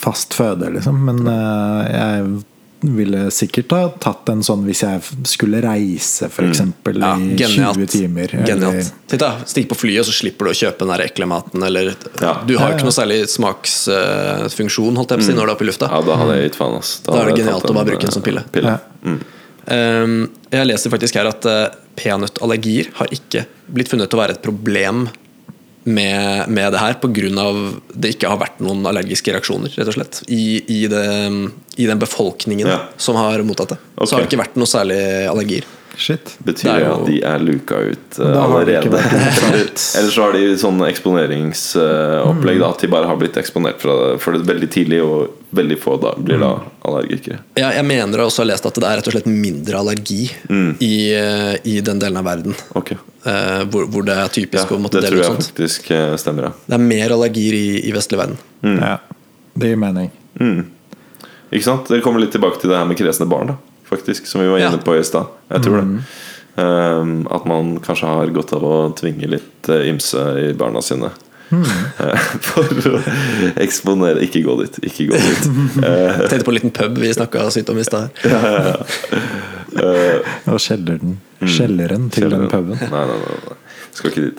S4: fast føde, liksom, men eh, jeg ville sikkert ha tatt en sånn hvis jeg f- skulle reise, f.eks. eksempel
S2: Mm. Ja,
S4: i 20
S2: genialt.
S4: timer. eller-
S2: genialt. Tenk deg, Stikk på flyet, så slipper du å kjøpe den der ekle maten. Eller,
S1: Ja.
S4: Ja,
S2: Du har jo
S4: ja. Mm.
S2: ikke noe særlig smaksfunksjon holdt jeg på å si, når du er oppe i lufta.
S1: Ja, da hadde jeg gitt faen, ass.
S2: Da er
S1: hadde
S2: det
S1: jeg
S2: genialt
S1: tatt
S2: å bare
S1: en,
S2: bruke den som
S1: eh,
S2: pille.
S4: Ja.
S2: Ehm, jeg leser faktisk her at eh, peanøttallergier har ikke blitt funnet å være et problem med, med det her, pga. det ikke har vært noen allergiske reaksjoner rett og slett, i, i, det, i den befolkningen
S1: Ja.
S2: som har mottatt det.
S1: Ok.
S2: Så har det ikke vært noe særlig allergier.
S4: Shit.
S1: Betyr
S2: Det
S1: det
S2: er jo-
S1: at de er luka ut eh,
S4: Da har de ikke
S1: allerede?
S4: vært luka
S1: Eller eller så har de sånn
S4: Mm.
S1: eksponeringsopplegg da, at de bare har blitt eksponert fra, for det veldig tidlig, og veldig få da blir da
S4: Mm.
S1: allergikere.
S2: Ja, jeg mener jeg også har lest at det er rett og slett mindre allergi
S1: Mm.
S2: i, eh, i den delen av verden.
S1: Ok.
S2: eh, hvor, hvor det er
S1: Ja,
S2: typisk å måtte
S1: det tror
S2: dele ut
S1: jeg
S2: sånt.
S1: faktisk eh, stemmer, ja.
S2: Det er mer allergier i, i vestlig verden.
S4: Ja, det gir mening.
S1: Ikke sant? Dere kommer litt tilbake til det her med kresne barn, da. Faktisk, som vi var
S2: Ja. Mm.
S1: inne på i stad. Jeg tror det. Ehm, at man kanskje har godt av å tvinge litt eh, ymse i barna sine.
S2: Mm.
S1: Eh, For å eksponere Ikke gå dit, ikke gå dit.
S2: Jeg tenkte på en liten pub vi snakka sykt om i stad. her.
S4: Og kjelleren,
S2: Mm.
S4: kjelleren til den puben.
S1: Nei, nei, nei, nei. Skal ikke dit.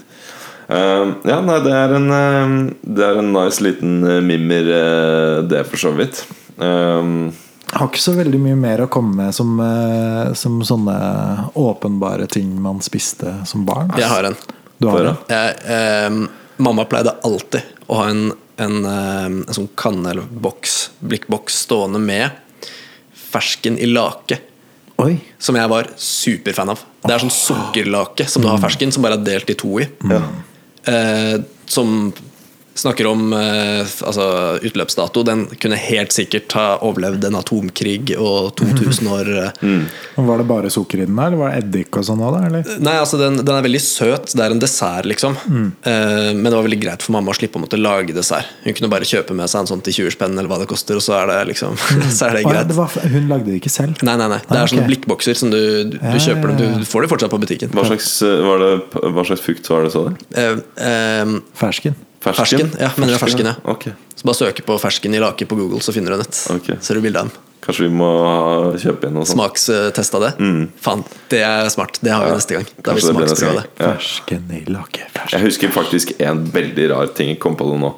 S1: Ehm, ja, nei, det er en ehm, Det er en nice liten eh, mimmer, eh, det, for så vidt. Ehm,
S4: Har ikke så veldig mye mer å komme med som, eh, som sånne åpenbare ting man spiste som barn.
S2: Jeg har en.
S4: Du har
S1: Hør,
S4: det?
S1: da.
S2: jeg, ehm, mamma pleide alltid å ha en, en, ehm, en sånn kanne eller boks, blikkboks stående med fersken i lake.
S4: Oi.
S2: Som jeg var superfan av. Det er sånn sukkerlake som du har fersken, som bare er delt i to i. Eh, som Snakker om eh, altså, utløpsdato. Den kunne helt sikkert ha overlevd en atomkrig og 2000 år eh,
S3: Men Var det bare sukker i den, der, eller var det eddik og sånn? også, Eller?
S2: Nei, altså den, den er veldig søt. Det er en dessert, liksom.
S3: Mm.
S2: Eh, men det var veldig greit for mamma å slippe å måtte lage dessert. Hun kunne bare kjøpe med seg en sånn til 20-spenn, eller hva det koster, og så er det liksom Så er det
S3: Mm. Å, ja,
S2: greit.
S3: det var, hun lagde det ikke selv.
S2: Nei, nei, nei. Det
S3: Ah,
S2: er sånne
S3: ok.
S2: blikkbokser som du, du kjøper dem. Du får de fortsatt på butikken.
S1: Hva slags, eh, var det, hva slags frukt var det, sa du?
S2: Eh, eh,
S3: Fersken.
S2: fersken? Ja, mener jeg fersken, ja.
S1: Ok.
S2: Så bare søke på 'fersken i lake' på Google, så finner du den.
S1: Ok.
S2: Ser du bilde av den.
S1: Kanskje vi må ha- kjøpe inn noe sånt?
S2: Smakstesta det. Faen, det er smart. Det har vi neste gang. Da har
S1: Mm. Kanskje
S2: vi
S1: det blir neste gang.
S2: smaksprøve det.
S1: Ja.
S3: Fersken i lake. Fersken.
S1: Jeg husker faktisk en veldig rar ting jeg kom på det nå,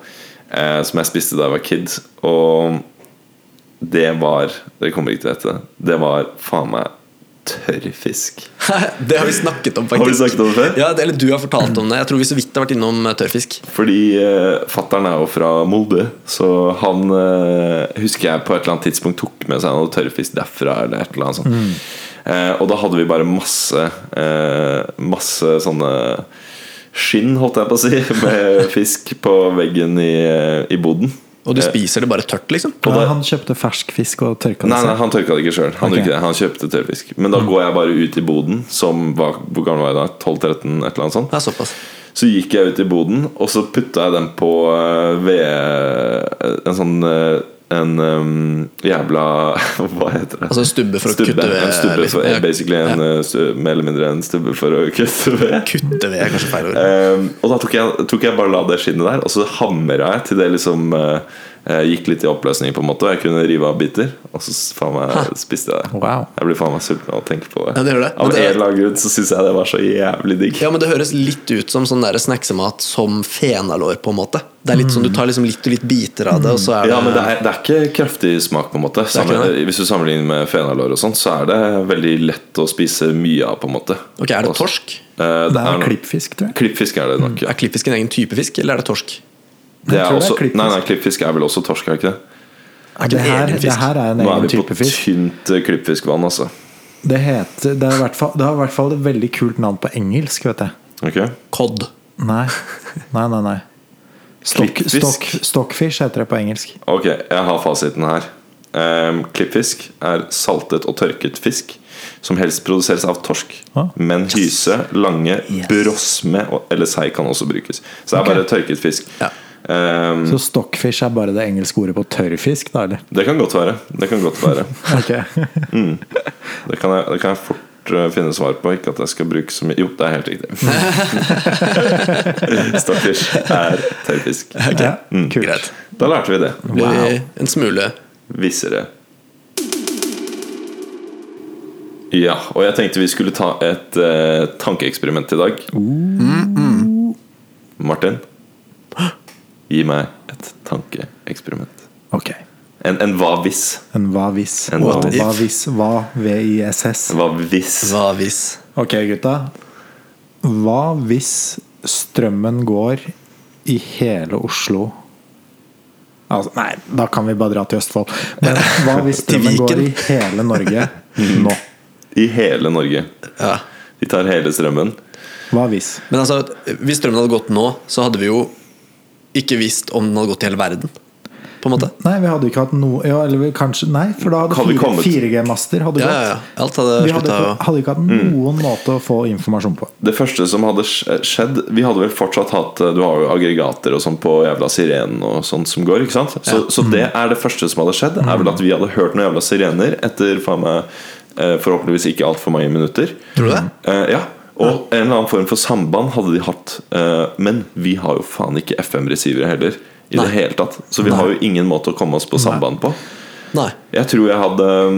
S1: eh, som jeg spiste da jeg var kid. Og det var Dere kommer ikke til å vite det. Det var faen meg tørr fisk.
S2: Det har vi snakket om, faktisk.
S1: Har vi snakket om det før?
S2: Ja, det- eller du har fortalt om det. Jeg tror vi så vidt har vært innom eh, tørrfisk.
S1: Fordi eh, fattern er jo fra Molde, så han eh, husker jeg på et eller annet tidspunkt tok med seg noe tørrfisk derfra. Eller et eller annet sånt. Eh, og da hadde vi bare masse eh, Masse sånne skinn, holdt jeg på å si, med fisk på veggen i, eh, i boden.
S2: Og du spiser det bare tørt, liksom?
S1: Og
S3: Ja,
S1: da-
S3: han kjøpte fersk fisk og tørka det
S1: Nei, nei,
S3: selv.
S1: han tørka det ikke sjøl. Han,
S3: Ok.
S1: gjorde ikke det, han kjøpte tørrfisk. Men da går jeg bare ut i boden, som var, hvor gammel var jeg da? 12-13? Et eller annet sånt.
S2: Ja, såpass.
S1: Så gikk jeg ut i boden, og så putta jeg den på eh, ved en sånn eh, en eh, jævla Hva heter det?
S2: Altså en stubbe for å
S1: Stubbe.
S2: kutte ved,
S1: En stubbe for,
S2: liksom. Ja.
S1: basically en, eh, stu- mer eller mindre en stubbe for å kutte ved.
S2: Kutte ved, er kanskje feil ord.
S1: Ehm, og da tok jeg, tok jeg bare la det skinnet der, og så hamra jeg til det liksom eh, eh, gikk litt i oppløsning, på en måte. Og jeg kunne rive av biter, og så s- faen meg spiste jeg det.
S3: Wow.
S1: Jeg blir faen meg sulten av å tenke på det.
S2: Ja, det gjør det.
S1: Av en
S2: Men det-
S1: eller annen grunn så syns jeg det var så jævlig digg.
S2: Ja, men Det høres litt ut som sånn der snacsemat som fenalår, på en måte. Det er litt sånn Du tar liksom litt og litt biter av det, og så er det
S1: Ja, men det er, det er ikke kraftig smak, på en måte.
S2: er ikke
S1: Sammen- hvis du sammenligner med fenalår og sånn, så er det veldig lett å spise mye av, på en måte.
S2: Ok, Er det
S1: Også-
S2: torsk?
S1: Eh,
S3: Det er
S1: no-
S3: klippfisk, tror jeg.
S1: Klippfisk er det nok, ja.
S2: Er klippfisk en egen type fisk, eller er det torsk?
S1: Det er
S3: tror det er
S1: også,
S3: klippfisk.
S1: nei, nei, klippfisk er vel også torsk, er det ikke det?
S2: Er ikke
S3: Det
S2: det
S3: her,
S2: egen
S3: det
S2: fisk?
S3: her er en
S1: Nå er
S3: egen
S1: vi
S3: type
S1: på
S3: fisk.
S1: tynt eh, klippfiskvann, altså.
S3: Det, heter, det, er i hvert fall, det har i hvert fall et veldig kult navn på engelsk, vet jeg.
S1: Ok?
S2: Cod.
S3: Nei, nei, nei. nei. Stock,
S1: Klippfisk.
S3: stock, stockfish heter det på engelsk.
S1: Ok, jeg har fasiten her. Ehm, klippfisk er saltet og tørket fisk som helst produseres av torsk.
S3: Ah.
S1: Men hyse, lange,
S2: Yes.
S1: brosme og- eller sei kan også brukes. Så det er bare tørket fisk.
S2: Ja.
S1: Ehm,
S3: Så stockfish er bare det engelske ordet på tørrfisk, da, eller?
S1: det kan godt være. Det kan godt være.
S3: Ok.
S1: Det kan jeg, det kan jeg fort eh, finne svar på. Ikke at jeg skal bruke så mye Jo, det er helt riktig. Stakkars er tørrfisk.
S3: Ja,
S1: Mm.
S3: kult.
S2: Greit.
S1: Da lærte vi det.
S2: Blir vi en smule
S1: Vissere. Ja, og jeg tenkte vi skulle ta et eh, tankeeksperiment i dag. Martin, gi meg et tankeeksperiment.
S3: Ok.
S1: En, en hva hvis?
S3: En hva hvis?
S1: En
S3: hva,
S1: hva
S2: if.
S3: hva hvis? Hva V-I-S-S?
S1: Hva hvis
S2: Hva hvis?
S3: Ok, gutta. Hva hvis strømmen går i hele Oslo? Altså, nei, da kan vi bare dra til Østfold. Men hva hvis
S2: Til
S3: strømmen går i
S2: Viken.
S3: hele Norge nå?
S1: i hele Norge
S2: Ja.
S1: De tar hele strømmen?
S3: Hva hvis?
S2: Men altså, hvis strømmen hadde gått nå, så hadde vi jo ikke visst om den hadde gått i hele verden. På en måte.
S3: Nei, vi hadde ikke hatt noe ja, Eller vi kanskje Nei, for da hadde
S1: Hadde
S3: fire-
S1: kommet.
S3: 4G-master hadde
S2: Ja,
S3: gått.
S2: ja, ja. Alt hadde
S3: Vi hadde,
S2: slutta å Mm.
S3: ikke- hadde ikke hatt noen måte å få informasjon på.
S1: Det første som hadde sk- eh, skjedd Vi hadde vel fortsatt hatt eh, Du har jo aggregater og sånn på jævla sirenen og sånt som går, ikke sant? Så, så det er det første som hadde skjedd, er vel at vi hadde hørt noen jævla sirener etter faen meg eh, forhåpentligvis ikke altfor mange minutter.
S2: Tror du det?
S1: Eh, ja. Og en eller annen form for samband hadde de hatt. eh, men vi har jo faen ikke FM-receivere heller. I
S2: Nei.
S1: det hele tatt Så vi
S3: Nei.
S1: har jo ingen måte å komme oss på samband på.
S2: Nei.
S1: Jeg tror jeg hadde mm,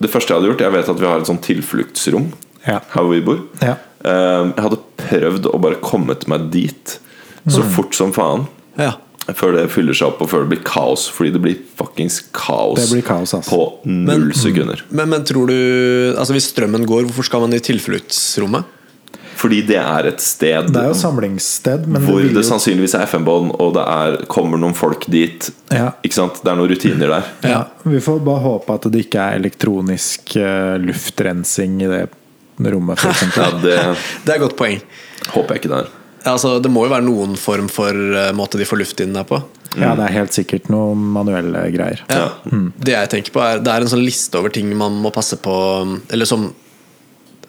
S1: Det første jeg hadde gjort Jeg vet at vi har et sånt tilfluktsrom
S3: Ja.
S1: her hvor vi bor.
S3: Ja.
S1: Eh, Jeg hadde prøvd å bare komme til meg dit så
S3: Mm.
S1: fort som faen.
S2: Ja.
S1: Før det fyller seg opp, og før det blir kaos. Fordi det blir fuckings kaos,
S3: Det blir kaos, ass.
S1: på null sekunder.
S2: Men, men tror du Altså, hvis strømmen går, hvorfor skal man i tilfluktsrommet?
S1: Fordi det er et sted
S3: Det er
S2: Mm.
S3: jo samlingssted, men
S1: hvor
S3: det vil
S1: det
S3: jo
S1: sannsynligvis er FM-bånd, og det er, kommer noen folk dit.
S3: Ja.
S1: Ikke sant? Det er noen rutiner der.
S3: ja, Vi får bare håpe at det ikke er elektronisk eh, luftrensing i det rommet, for
S1: Ja,
S3: eksempel.
S1: det
S2: Det er et godt poeng.
S1: håper jeg ikke det er.
S2: Altså, det må jo være noen form for eh, måte de får luft inn der på.
S4: Ja, det er helt sikkert noen manuelle greier.
S2: Ja. Det jeg tenker på er Det er en sånn liste over ting man må passe på Eller som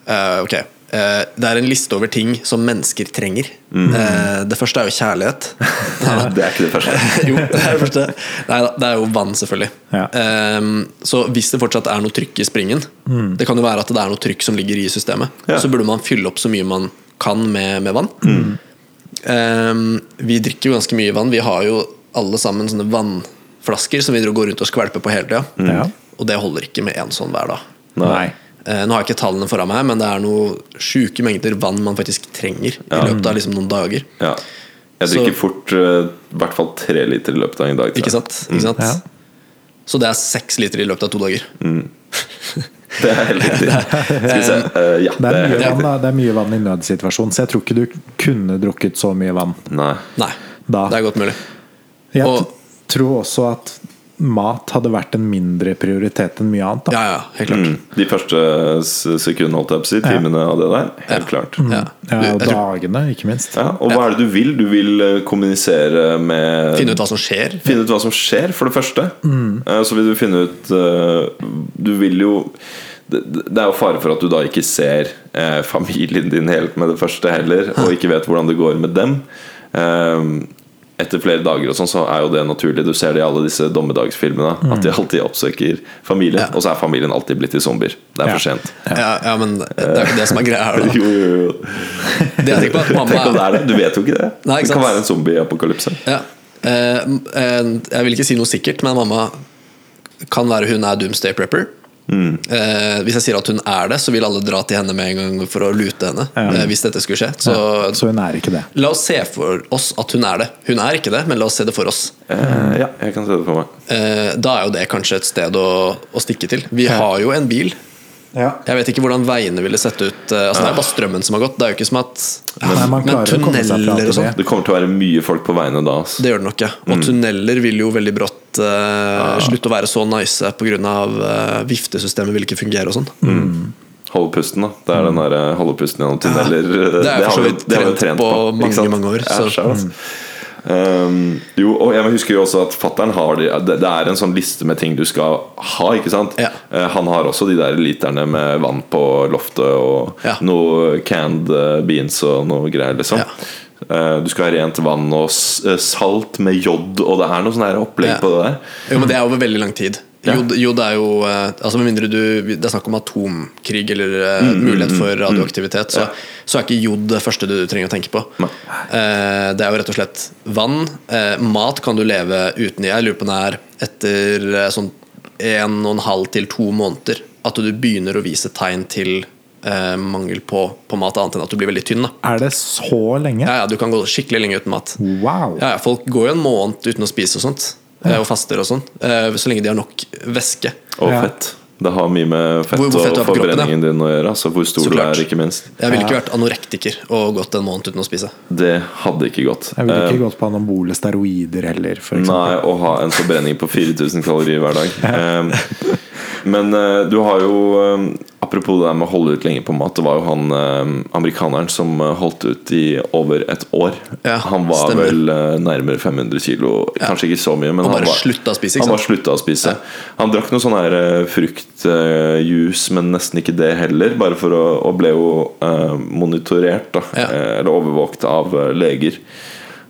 S2: eh, Ok eh, Det er en liste over ting som mennesker trenger Eh, Det første er jo kjærlighet
S1: Det er ikke det første.
S2: Jo, det er det første Neida, det er jo vann selvfølgelig
S4: Ja.
S2: Eh, Så hvis det fortsatt er noe trykk i springen
S4: Mm.
S2: Det kan jo være at det er noe trykk som ligger i systemet
S1: Ja.
S2: Så burde man fylle opp så mye man kan med, med vann
S4: Mm.
S2: Ehm, vi drikker jo ganske mye vann. Vi har jo alle sammen sånne vannflasker som vi dro- går rundt og skvelper på hele tida.
S4: Mm. Ja.
S2: Og det holder ikke med én sånn hver dag.
S4: Nei.
S2: Eh, nå har jeg ikke tallene foran meg, men det er noen sjuke mengder vann man faktisk trenger i løpet av liksom noen dager.
S1: Ja. Jeg drikker
S2: Så-
S1: fort eh, i hvert fall tre liter i løpet av en dag. tror jeg.
S2: Ikke sant? Ikke sant?
S4: Ja.
S2: Så det er seks liter i løpet av to dager.
S1: Det er helt riktig. Skal vi se. eh, ja,
S4: Det er, mye
S1: helt
S4: vann,
S1: riktig.
S4: da. det er mye vann i nødsituasjon, så jeg tror ikke du kunne drukket så mye vann.
S1: Nei.
S2: Nei,
S4: Da.
S2: det er godt mulig.
S4: Jeg
S2: Og-
S4: t- tror også at mat hadde vært en mindre prioritet enn mye annet. Da.
S2: Ja, ja, helt klart.
S1: Mm. De første s- sekundene, holdt jeg på å si, timene av det der. Helt klart.
S2: Ja. Mm. Du,
S4: Ja, og
S2: jeg tror,
S4: dagene, ikke minst.
S1: Ja, og hva er det du vil? Du vil eh, kommunisere med
S2: finne ut hva som skjer.
S1: Finne ut hva som skjer, for det første. Eh, Så vil du finne ut eh, Du vil jo det, det er jo fare for at du da ikke ser eh, familien din helt med det første heller, og ikke vet hvordan det går med dem. Eh, etter flere dager og sånn, så er jo det naturlig. Du ser det i alle disse dommedagsfilmene. At de alltid oppsøker familien, og så er familien alltid blitt til zombier. Det er
S4: Ja.
S1: for sent.
S2: Ja. Ja, men det er ikke det som er greia her. Da.
S1: Jo, jo, jo.
S2: Det jeg tenker på er at mamma
S1: Tenk om det er det. Du vet jo ikke det.
S2: Nei, ikke
S1: det kan
S2: sant.
S1: være en zombie-apokalypse.
S2: Ja. Eh, m- eh, jeg vil ikke si noe sikkert, men mamma kan være hun er doomsday prepper. Eh, hvis jeg sier at hun er det, så vil alle dra til henne med en gang for å lute henne. Eh, hvis dette skulle skje. Så,
S4: Så hun er ikke det.
S2: la oss se for oss at hun er det. Hun er ikke det, men la oss se det for oss.
S1: Eh, ja, jeg kan se det for meg.
S2: Eh, da er jo det kanskje et sted å, å stikke til. Vi har jo en bil. Jeg vet ikke hvordan veiene ville sett ut. eh, Altså, det er bare strømmen som har gått. Det er jo ikke som at
S4: Nei, man
S2: Men
S4: klarer å komme seg fra
S2: tunneler og
S4: til Mm.
S2: sånn.
S4: det.
S1: Det kommer til å være mye folk på veiene da. ass.
S2: Det gjør det nok, ja. Og tunneler vil jo veldig brått eh, slutte å være så nice pga. Uh, viftesystemet vil ikke fungere og sånn.
S1: Holde pusten, da. Det er den der holde pusten gjennom tunneler.
S2: Det er jeg for så vidt
S1: det har vi
S2: trent på mange,
S1: ikke sant?
S2: mange år,
S1: Ja,
S2: så- Mm.
S1: skjær, altså. Um, jo, og jeg husker jo også at fattern har de, det, det er en sånn liste med ting du skal ha, ikke sant?
S2: Ja.
S1: Eh, han har også de der literne med vann på loftet og
S2: Ja.
S1: noe canned eh, beans og noe greier, liksom.
S2: Ja.
S1: Eh, du skal ha rent vann og s eh, salt med jod, og det er noe sånn her opplegg
S2: Ja.
S1: på det der.
S2: Jo, men det er over veldig lang tid. Jo, d- jo, det er jo eh, Altså Med mindre du Det er snakk om atomkrig eller eh, mulighet for radioaktivitet, så, så er ikke jod det første du trenger å tenke på. Eh, det er jo rett og slett vann. Eh, mat kan du leve uten i. Jeg lurer på om det er etter eh, sånn en og en halv til to måneder at du begynner å vise tegn til eh, mangel på, på mat, annet enn at du blir veldig tynn. Da.
S4: Er det så lenge?
S2: Ja, ja, du kan gå skikkelig lenge uten mat.
S4: Wow!
S2: Ja, ja, folk går jo en måned uten å spise og sånt. eh, Og faster og sånn. eh, Så lenge de har nok væske.
S1: Og
S4: Ja.
S1: fett. Det har mye med fett,
S2: Hvor- hvor fett du
S1: og
S2: har på kroppen,
S1: forbrenningen din å gjøre. Altså hvor stor
S2: Så
S1: du
S2: klart.
S1: er, ikke minst.
S2: Jeg ville ikke vært anorektiker og gått en måned uten å spise.
S1: Det hadde ikke gått.
S4: Jeg ville
S1: Eh,
S4: ikke gått på anabole steroider heller, for eksempel.
S1: Nei, å ha en forbrenning på 4000 kalorier hver dag. Ehm, Men eh, du har jo ehm, Apropos det der med å holde ut lenge på mat. Det var jo han ehm, amerikaneren som eh, holdt ut i over et år.
S2: Ja,
S1: han var
S2: stemmer.
S1: vel eh, nærmere 500 kilo. Kanskje ikke så mye, men
S2: Og
S1: han
S2: bare
S1: var,
S2: slutta å spise, ikke
S1: han
S2: sant?
S1: bare slutta å spise. Han drakk noe sånn her eh, fruktjuice, men nesten ikke det heller. Bare for å, og ble jo eh, monitorert, da.
S2: Ja.
S1: eh, Eller overvåkt av eh, leger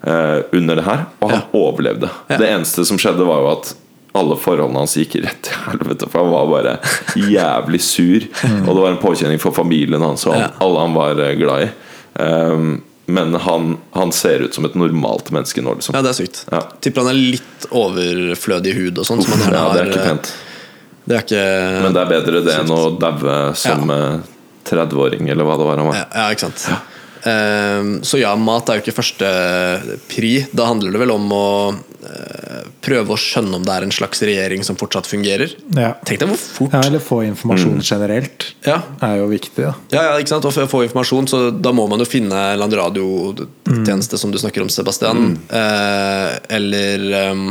S1: eh, under det her, og han
S2: Ja.
S1: overlevde.
S2: Ja.
S1: Det eneste som skjedde, var jo at alle forholdene hans gikk rett til helvete, for han var bare jævlig sur. Og det var en påkjenning for familien hans og
S2: Mm. Ja.
S1: alle han var eh, glad i. Um, men han, han ser ut som et normalt menneske nå, liksom.
S2: Ja, det er sykt.
S1: Ja.
S2: Tipper han er litt overflødig hud og sånn.
S1: Uff,
S2: som han gjerne
S1: ja, det er
S2: har,
S1: ikke
S2: eh,
S1: pent.
S2: Det er ikke
S1: Men det er bedre det enn å daue som eh, 30-åring, eller hva det var han var.
S2: Ja, ja ikke sant. Ehm, så ja, mat er jo ikke første pri. Da handler det vel om å eh, prøve å skjønne om det er en slags regjering som fortsatt fungerer.
S4: Ja.
S2: Tenk deg hvor fort Mm.
S4: Ja, eller få informasjon generelt.
S2: Ja.
S4: Er jo viktig, da.
S2: Ja, ja, ikke sant? Og for å få informasjon, så da må man jo finne en eller annen radiotjeneste som du snakker om, Sebastian. Eh, eller ehm,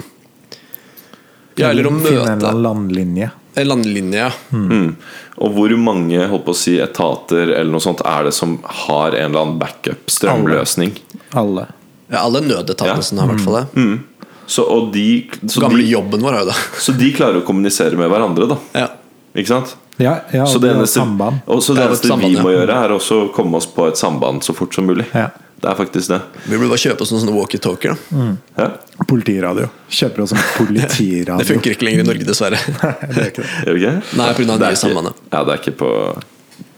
S2: Ja, eller å
S4: Finne en eller
S2: møte
S4: annen landlinje.
S2: Eh, Landlinja.
S1: Mm. Og hvor mange holdt på å si, etater eller noe sånt er det som har en eller annen backup-strømløsning?
S3: Alle.
S2: Ja, alle nødetatene
S1: Ja.
S2: som har i hvert fall det.
S1: Så, og de, så,
S2: Gamle
S1: de,
S2: jobben vår har jo det.
S1: så de klarer å kommunisere med hverandre, da.
S2: Ja.
S1: Ikke sant?
S3: Ja, ja
S1: Så
S3: og
S1: det
S3: er
S1: eneste,
S3: samband.
S1: og så det
S2: Ja, det er et
S1: eneste
S2: samband,
S1: vi
S2: ja.
S1: må gjøre, er også å komme oss på et samband så fort som mulig.
S3: Ja.
S1: Det er faktisk det.
S2: Vi burde bare kjøpe oss noen sånne walkietalkier. da.
S1: Ja.
S3: Politiradio. Kjøper oss en
S2: Det
S3: politiradio.
S2: funker ikke lenger i Norge, dessverre.
S3: det er ikke det.
S1: Gjør vi ikke?
S2: Nei, på grunn av
S1: Det er
S2: nye
S1: ikke-
S2: sambandet.
S1: Ja, det er ikke på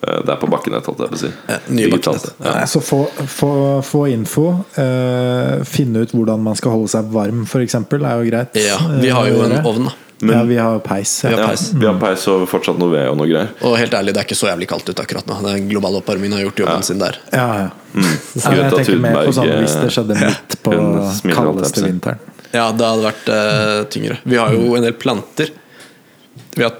S1: eh, Det er på bakkenett, holdt jeg på å si.
S2: Ja, nye
S1: Digitalt.
S2: bakkenett.
S1: Ja.
S3: Nei, Så få, få, få info. eh, finne ut hvordan man skal holde seg varm, f.eks. er jo greit. Eh,
S2: Ja, vi har jo en ovn, da.
S3: ja, vi har peis.
S2: Vi
S3: Ja.
S2: har
S1: Ja,
S2: peis.
S1: vi har peis og fortsatt noe ved og noe greier.
S2: Og helt ærlig, det er ikke så jævlig kaldt ute akkurat nå. Den globale oppvarmingen har gjort jobben sin der.
S3: Ja, ja.
S2: Mm.
S1: Skulle
S3: Nei, men jeg
S1: tatt
S3: tenker mer på
S1: Utenberg,
S3: sånn
S1: eh,
S3: hvis det skjedde midt på
S1: hun smiler alt opp
S3: kaldeste
S1: seg.
S3: vinteren.
S2: Ja, det hadde vært eh, tyngre. Vi har jo en del planter. Vi har,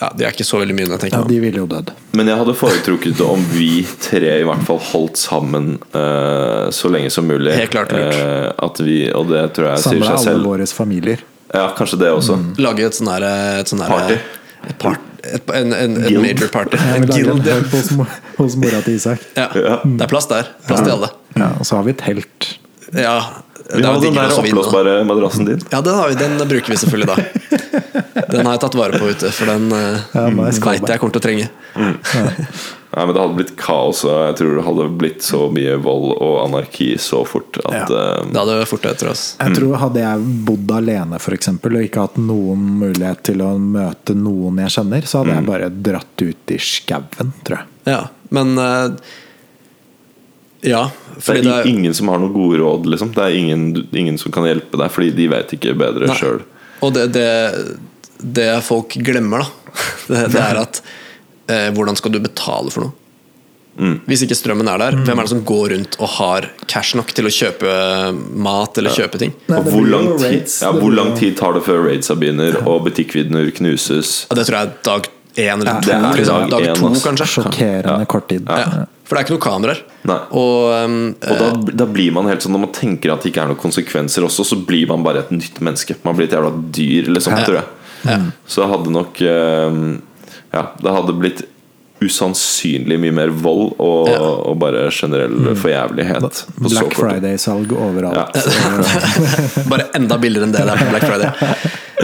S2: ja, det er ikke så veldig mye når jeg tenker
S3: Ja,
S2: meg om.
S3: de ville jo dødd.
S1: Men jeg hadde foretrukket om vi tre i hvert fall holdt sammen eh, så lenge som mulig.
S2: Helt klart lurt.
S1: Eh, at vi, og det tror jeg sier
S3: Samle
S1: seg
S3: alle
S1: selv.
S3: våre Mm. familier.
S1: Ja, kanskje det også.
S2: Lage et sånn her et sånn her-
S1: Party.
S2: Et part, et, en, en, en
S1: Guild.
S2: major party.
S3: Jeg
S2: En
S3: vil lage en
S2: guild. ja.
S3: hub hos, mo- hos mora til Isak.
S2: Ja. Det er plass der. Plass til alle.
S3: Ja, og så har vi telt.
S2: Ja,
S1: Vi
S2: det er jo
S1: har den
S2: digg
S1: der
S2: også å vinne, da.
S1: oppblåsbare madrassen din.
S2: Ja, den, har vi, den bruker vi selvfølgelig da. Den har jeg tatt vare på ute, for den
S3: Ja,
S2: uh,
S3: nice
S2: veit jeg kommer til å trenge.
S1: Nei, men Det hadde blitt kaos, og jeg tror det hadde blitt så mye vold og anarki så fort at eh,
S2: Det hadde fort det, tror jeg. ass.
S3: Jeg tror Hadde jeg bodd alene for eksempel, og ikke hatt noen mulighet til å møte noen jeg kjenner, så hadde jeg bare dratt ut i skauen, tror jeg.
S2: Ja, men eh, Ja,
S1: det
S2: fordi
S1: er
S2: det er
S1: ingen som har noen gode råd, liksom. Det er ingen, ingen som kan hjelpe deg, fordi de vet ikke bedre
S2: Nei.
S1: sjøl.
S2: Og det, det, det folk glemmer, da, det, det er at eh, hvordan skal du betale for noe? Hvis ikke strømmen er der, hvem er det som går rundt og har cash nok til å kjøpe eh, mat eller kjøpe ting?
S3: Nei,
S1: Og
S3: det
S1: hvor
S3: blir jo
S1: lang, tid,
S3: raids,
S1: ja,
S3: det
S1: hvor
S3: blir
S1: lang
S3: jo-
S1: tid tar det før raidsa begynner, og butikkvinner knuses?
S2: Ja, det tror jeg er dag én eller to.
S1: det er
S2: liksom.
S1: dag
S2: dag
S1: én,
S2: to,
S1: ass.
S2: kanskje.
S3: Sjokkerende kort tid.
S2: Ja. For det er ikke noen kameraer.
S1: Nei.
S2: Og, um,
S1: Og da, da blir man helt sånn Når man tenker at det ikke er noen konsekvenser også, så blir man bare et nytt menneske. Man blir et jævla dyr, liksom,
S2: Ja.
S1: tror jeg.
S2: Ja.
S1: Så det hadde nok eh, Ja, det hadde blitt usannsynlig mye mer vold og,
S2: Ja.
S1: og bare generell forjævlighet. på så
S3: Mm. Black
S1: kort tid.
S3: Friday-salg
S1: Ja.
S3: overalt.
S2: bare enda billigere enn det det er på Black Friday.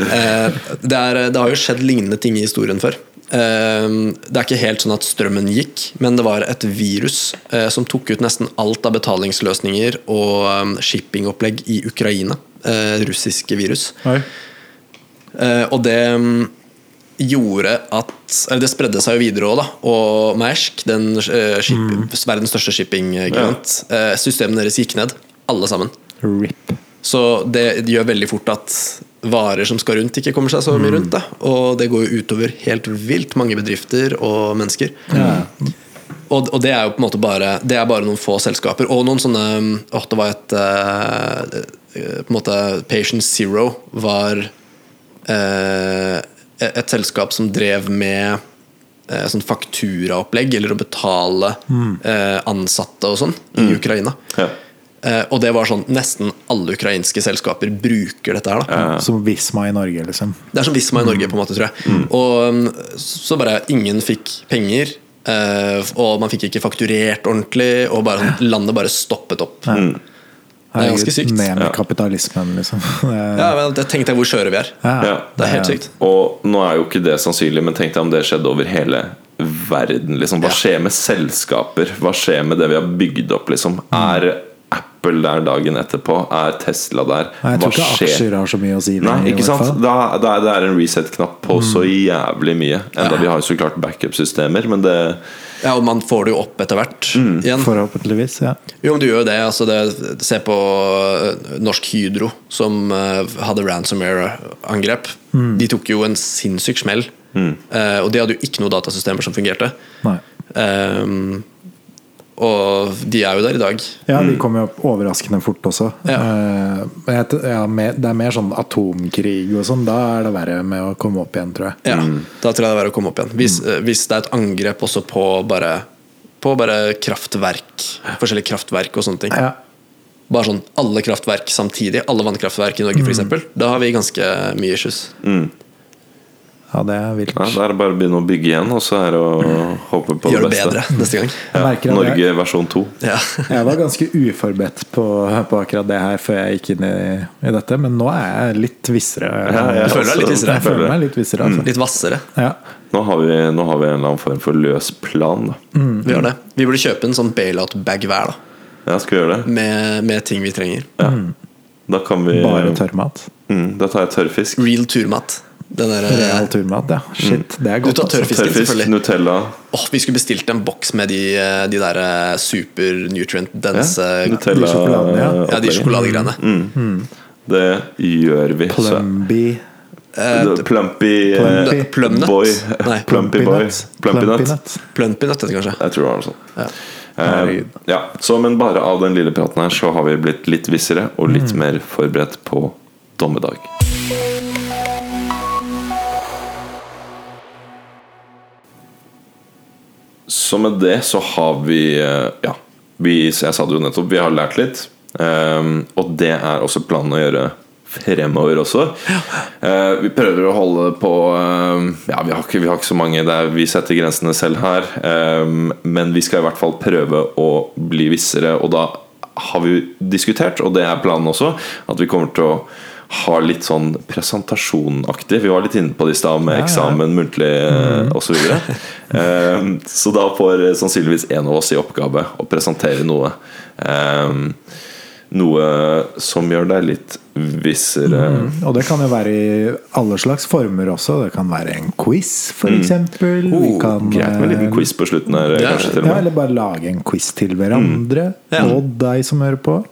S2: Eh, det, er, det har jo skjedd lignende ting i historien før. Eh, det er ikke helt sånn at strømmen gikk, men det var et virus eh, som tok ut nesten alt av betalingsløsninger og um, shippingopplegg i Ukraina. Eh, russiske virus.
S3: Oi.
S2: Eh, og det mm, gjorde at Eller det spredde seg jo videre òg, da. Og Mersk, den eh, skip, verdens største shippinggigant, eh, systemene deres gikk ned. Alle sammen.
S3: RIP.
S2: Så det gjør veldig fort at varer som skal rundt, ikke kommer seg så mye rundt. Da. Og det går jo utover helt vilt mange bedrifter og mennesker. Og, og det er jo på en måte bare Det er bare noen få selskaper. Og noen sånne Åh, det var et eh, eh, På en måte Patient Zero var eh, et et selskap som drev med eh, sånn fakturaopplegg, eller å betale eh, ansatte og sånn, i Ukraina.
S1: Ja.
S2: Eh, og det var sånn nesten alle ukrainske selskaper bruker dette her. da
S3: Som Visma i Norge, liksom.
S2: Det er som Visma i
S1: Mm.
S2: Norge, på en måte, tror jeg. Og um, så bare ingen fikk penger, eh, og man fikk ikke fakturert ordentlig, og bare, sånn, landet bare stoppet opp. Det er ganske
S3: Herregud,
S2: sykt.
S3: Ned med
S1: Ja.
S3: kapitalismen, liksom.
S2: Ja, men det tenkte jeg hvor skjøre vi er.
S1: Ja.
S2: Det er helt sykt.
S1: Og nå er jo ikke det sannsynlig, men tenk deg om det skjedde over hele verden. Liksom. Hva
S2: Ja.
S1: skjer med selskaper? Hva skjer med det vi har bygd opp? Liksom?
S2: Mm.
S1: Er Apple der dagen etterpå? Er Tesla der?
S3: Nei, jeg
S1: Hva
S3: tror ikke aksjer
S1: skjer?
S3: har så mye å si. lenger,
S1: Nei,
S3: i
S1: ikke
S3: hvert
S1: sant?
S3: fall. Mm.
S1: Da, da er det er en reset-knapp på så jævlig mye. Enda vi har jo så klart backup-systemer, men det
S2: Ja, og man får det jo opp etter hvert.
S1: Mm.
S2: Igjen.
S3: Forhåpentligvis. ja
S2: Jo, men du gjør jo det. Altså det se på eh, Norsk Hydro, som eh, hadde ransomware-angrep.
S1: Mm.
S2: De tok jo en sinnssyk smell. Eh, og de hadde jo ikke noen datasystemer som fungerte.
S3: Nei.
S2: Ehm, og de er jo der i dag.
S3: Ja, de kommer jo opp overraskende fort også.
S2: Mm. Ja.
S3: Eh, men jeg t- ja, mer- det er mer sånn atomkrig og sånn. Da er det verre med å komme opp igjen, tror jeg.
S2: Ja,
S1: Mm.
S2: Da tror jeg det er verre å komme opp igjen. Hvis, eh, hvis det er et angrep også på bare, på bare kraftverk, forskjellige kraftverk og sånne ting.
S3: Ja.
S2: Bare sånn alle
S1: Mm.
S2: kraftverk samtidig, alle vannkraftverk i Norge f.eks., da har vi ganske mye issues.
S3: Ja, det er vilt.
S1: Ja, det er det bare å begynne å bygge igjen, og så er det å håpe på
S2: Gjør
S1: det
S2: det bedre
S1: beste. Mm.
S2: neste gang.
S3: Jeg
S1: Ja,
S3: merker at jeg-
S1: Norge versjon 2.
S2: Ja.
S3: Jeg var ganske uforberedt på, på akkurat det her før jeg gikk inn i, i dette, men nå er jeg litt vissere.
S1: jeg
S2: føler deg litt
S1: også-
S2: vissere.
S3: Jeg føler meg litt vissere,
S1: Mm.
S3: altså.
S2: Litt hvassere.
S3: Ja.
S1: Nå har, vi, nå har vi en eller annen form for løs plan.
S3: Mm.
S1: Da.
S2: Vi gjør det. Vi burde kjøpe en sånn bailout-bag hver, da.
S1: Ja, skal vi gjøre det?
S2: Med, med ting vi trenger.
S1: Da kan vi
S3: Bare tørrmat.
S1: Mm, da tar jeg tørrfisk.
S2: Real turmat. Den der, eh,
S3: Real turmat, ja. Shit,
S1: Mm.
S3: det er
S2: du
S3: godt.
S2: tar
S3: altså.
S2: tørrfisken,
S1: Tørrfisk,
S2: selvfølgelig.
S1: Nutella.
S2: Åh, vi skulle bestilt en boks med de, de der eh, super nutrient
S1: Ja,
S2: dense
S1: Nutella
S3: eh, de sjokoladene, ja.
S1: eh,
S2: Ja, de
S1: opplegget.
S2: sjokoladegreiene.
S1: Mm. Det gjør vi. så-
S3: Plumby
S2: Eh,
S1: Det- Plumpy eh,
S3: Plumpy.
S2: Plumnut?
S1: Boy.
S2: Nei.
S1: Plumpy boy. Plumpy nut.
S3: Plumpinut.
S2: Plumpy nøtt, heter det kanskje.
S1: Jeg tror det var noe sånt.
S2: Ja.
S1: Eh,
S3: Herregud.
S1: ja. Så, men bare av den lille praten her, så har vi blitt litt vissere og litt mer forberedt på dommedag. Så med det så har vi eh, Ja, vi, så jeg sa det jo nettopp, vi har lært litt. Ehm, og det er også planen å gjøre fremover også. Eh, vi prøver å holde på ehm, Ja, vi har ikke, vi har ikke så mange der vi setter grensene selv her. ehm, men vi skal i hvert fall prøve å bli vissere, og da har vi diskutert, og det er planen også, at vi kommer til å ha litt sånn presentasjonaktig. Vi var litt inne på det i stad med eksamen, muntlig eh,
S3: Mm.
S1: og så videre Ehm, så da får eh, sannsynligvis en av oss i oppgave å presentere noe. Ehm, noe som gjør deg litt vissere.
S3: Mm. Og det kan jo være i alle slags former også. Det kan være en quiz, for eksempel. Vi kan,
S1: Mm. Oh, Greit med en liten
S3: eh,
S1: quiz Mm. på slutten her,
S2: Ja.
S1: kanskje til og
S3: Ja,
S1: med.
S3: eller bare lage en quiz til hverandre.
S2: Ja.
S3: Og deg som hører på.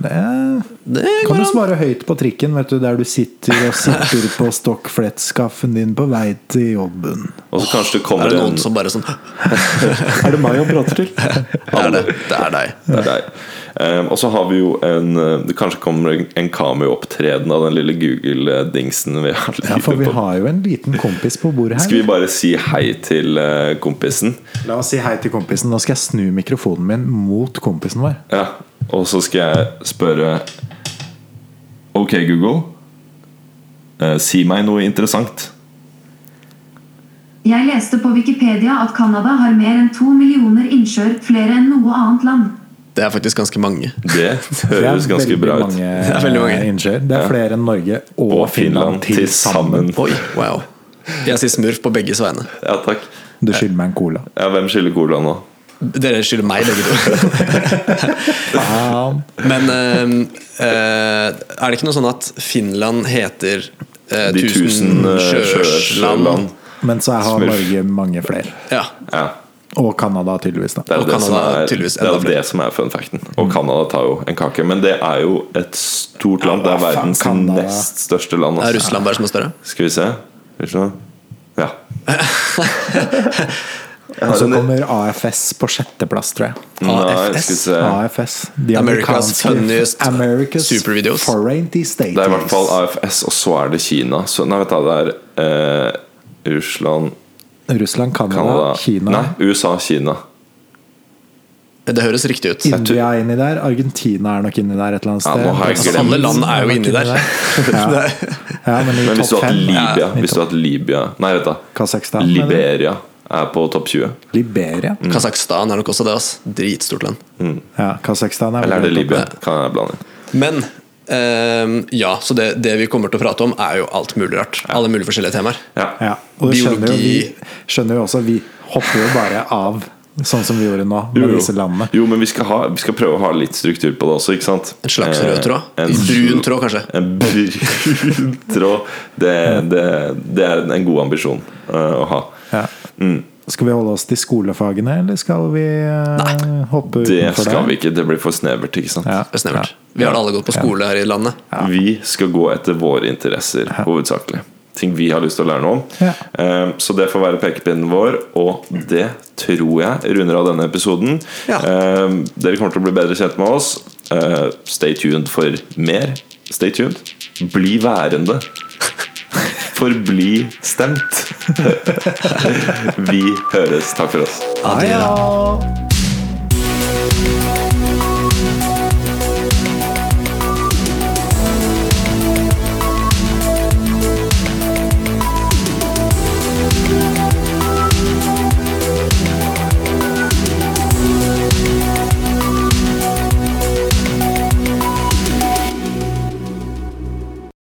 S3: Det er
S2: Det
S3: Kan
S2: går
S3: du
S2: an.
S3: svare høyt på trikken vet du, der du sitter og sitter på stokkflettskaffen din på vei til jobben?
S1: Og så kanskje det
S2: Er
S1: kommer
S2: det
S1: en
S2: noen som bare sånn
S3: Er det meg han prater til?
S2: Det er det. Det er deg.
S1: Det er deg. Ehm, og så har vi jo en eh, Det kanskje kommer en- en cameo-opptreden av den lille Google-dingsen vi har
S3: Ja, for vi
S1: på.
S3: har jo en liten kompis på bordet
S1: Skal vi
S3: her.
S1: bare si hei til eh, kompisen?
S3: La oss si hei til kompisen. Nå skal jeg snu mikrofonen min mot kompisen vår.
S1: Ja, og så skal jeg spørre Ok, Google. eh, si meg noe interessant.
S5: Jeg leste på Wikipedia at Canada har mer enn to millioner innsjøer, flere enn noe annet land.
S2: Det er faktisk ganske mange.
S1: Det høres ganske bra ut.
S3: mange
S2: Det er veldig mange.
S3: eh, innsjøer. Det er flere enn Norge og,
S1: Og
S3: Finland til sammen.
S2: Oi, wow. Jeg sier smurf på begges vegne.
S1: Ja, takk.
S3: Du skylder meg en cola.
S1: Ja, hvem skylder cola nå?
S2: Dere skylder meg, begge to.
S3: Faen.
S2: Men eh, eh, er det ikke noe sånn at Finland heter eh,
S1: De tusen eh, sjøsjøland.
S2: sjøsjøland?
S3: Men så har
S1: Smurf.
S3: Norge mange flere.
S2: Ja.
S1: Ja,
S3: Og Canada, tydeligvis. da
S1: det er, jo
S2: Og
S1: det, som
S2: Kanada er
S1: er,
S2: tydeligvis
S1: det, er
S2: enda
S1: jo det som er fun facten. Og Canada tar jo en kake. Men det er jo et stort land. Det er
S3: hva faen,
S1: verdens
S3: Canada?
S1: nest største land.
S2: Er
S1: altså.
S2: Russland bare som er større?
S1: Skal vi se Skal vi se. Ja. Jeg
S3: Og
S1: har
S3: så
S1: en-
S3: kommer AFS på sjetteplass, tror jeg.
S1: Nei, skal vi
S2: AFS?
S1: se.
S3: AFS.
S2: America's
S3: The American's-
S2: funniest
S3: America's
S2: supervideos.
S3: Foreign States.
S1: Det er i hvert fall AFS, og så er det Kina. Så, nei, vet du, det er eh, Russland,
S3: Russland, Canada,
S1: Canada
S3: Kina,
S1: Nei, USA, Kina.
S2: Det høres riktig ut.
S3: India er inni der. Argentina er nok inni der et eller annet
S1: Ja,
S3: sted.
S1: nå har jeg
S3: Altså,
S1: glemt.
S2: Alle land er jo
S3: nok
S2: inni der.
S3: Ja. ja, men i
S1: Men hvis du hadde hatt
S3: topp fem
S1: Libya,
S3: Ja, i
S1: hvis du
S3: topp-
S1: hadde Libya Nei, vet du,
S3: Kasakhstan, mener du?
S1: Liberia er på topp 20.
S3: Liberia?
S1: Mm.
S2: Kasakhstan er nok også det. ass Dritstort land.
S3: Ja, Kasakhstan er vel
S1: Eller er det
S3: topp-
S1: Libya? Kan jeg blande?
S2: Men ehm, ja, så det, det vi kommer til å prate om, er jo alt mulig rart. Alle mulige forskjellige temaer.
S1: Ja.
S3: Ja, og du skjønner jo,
S2: Biologi.
S3: vi skjønner jo også Vi hopper jo bare av, sånn som vi gjorde nå,
S1: Jo,
S3: med
S1: jo.
S3: disse landene.
S1: jo, men vi skal, ha, vi skal prøve å ha litt struktur på det også, ikke sant?
S2: En slags
S1: Eh,
S2: rød tråd?
S1: en-
S2: Brun tråd, kanskje?
S1: En brun tråd. Det, det, det er en god ambisjon eh, å ha.
S3: Ja.
S1: Mm.
S3: Skal vi holde oss til skolefagene, eller skal vi eh, hoppe utenfor
S1: Det skal vi ikke. Det blir for snevert, ikke sant?
S3: Ja.
S2: Det er snevert. Vi har da alle gått på skole her i landet.
S1: Vi skal gå etter våre interesser hovedsakelig. Ting vi har lyst til å lære noe om.
S3: Ja.
S1: Eh, Så det får være pekepinnen vår, og det tror jeg runder av denne episoden.
S2: Ja.
S1: Eh, Dere kommer til å bli bedre kjent med oss. Eh, Stay tuned for mer. Stay tuned. Bli værende. Forbli stemt. Vi høres. Takk for oss.
S3: Hei, ja.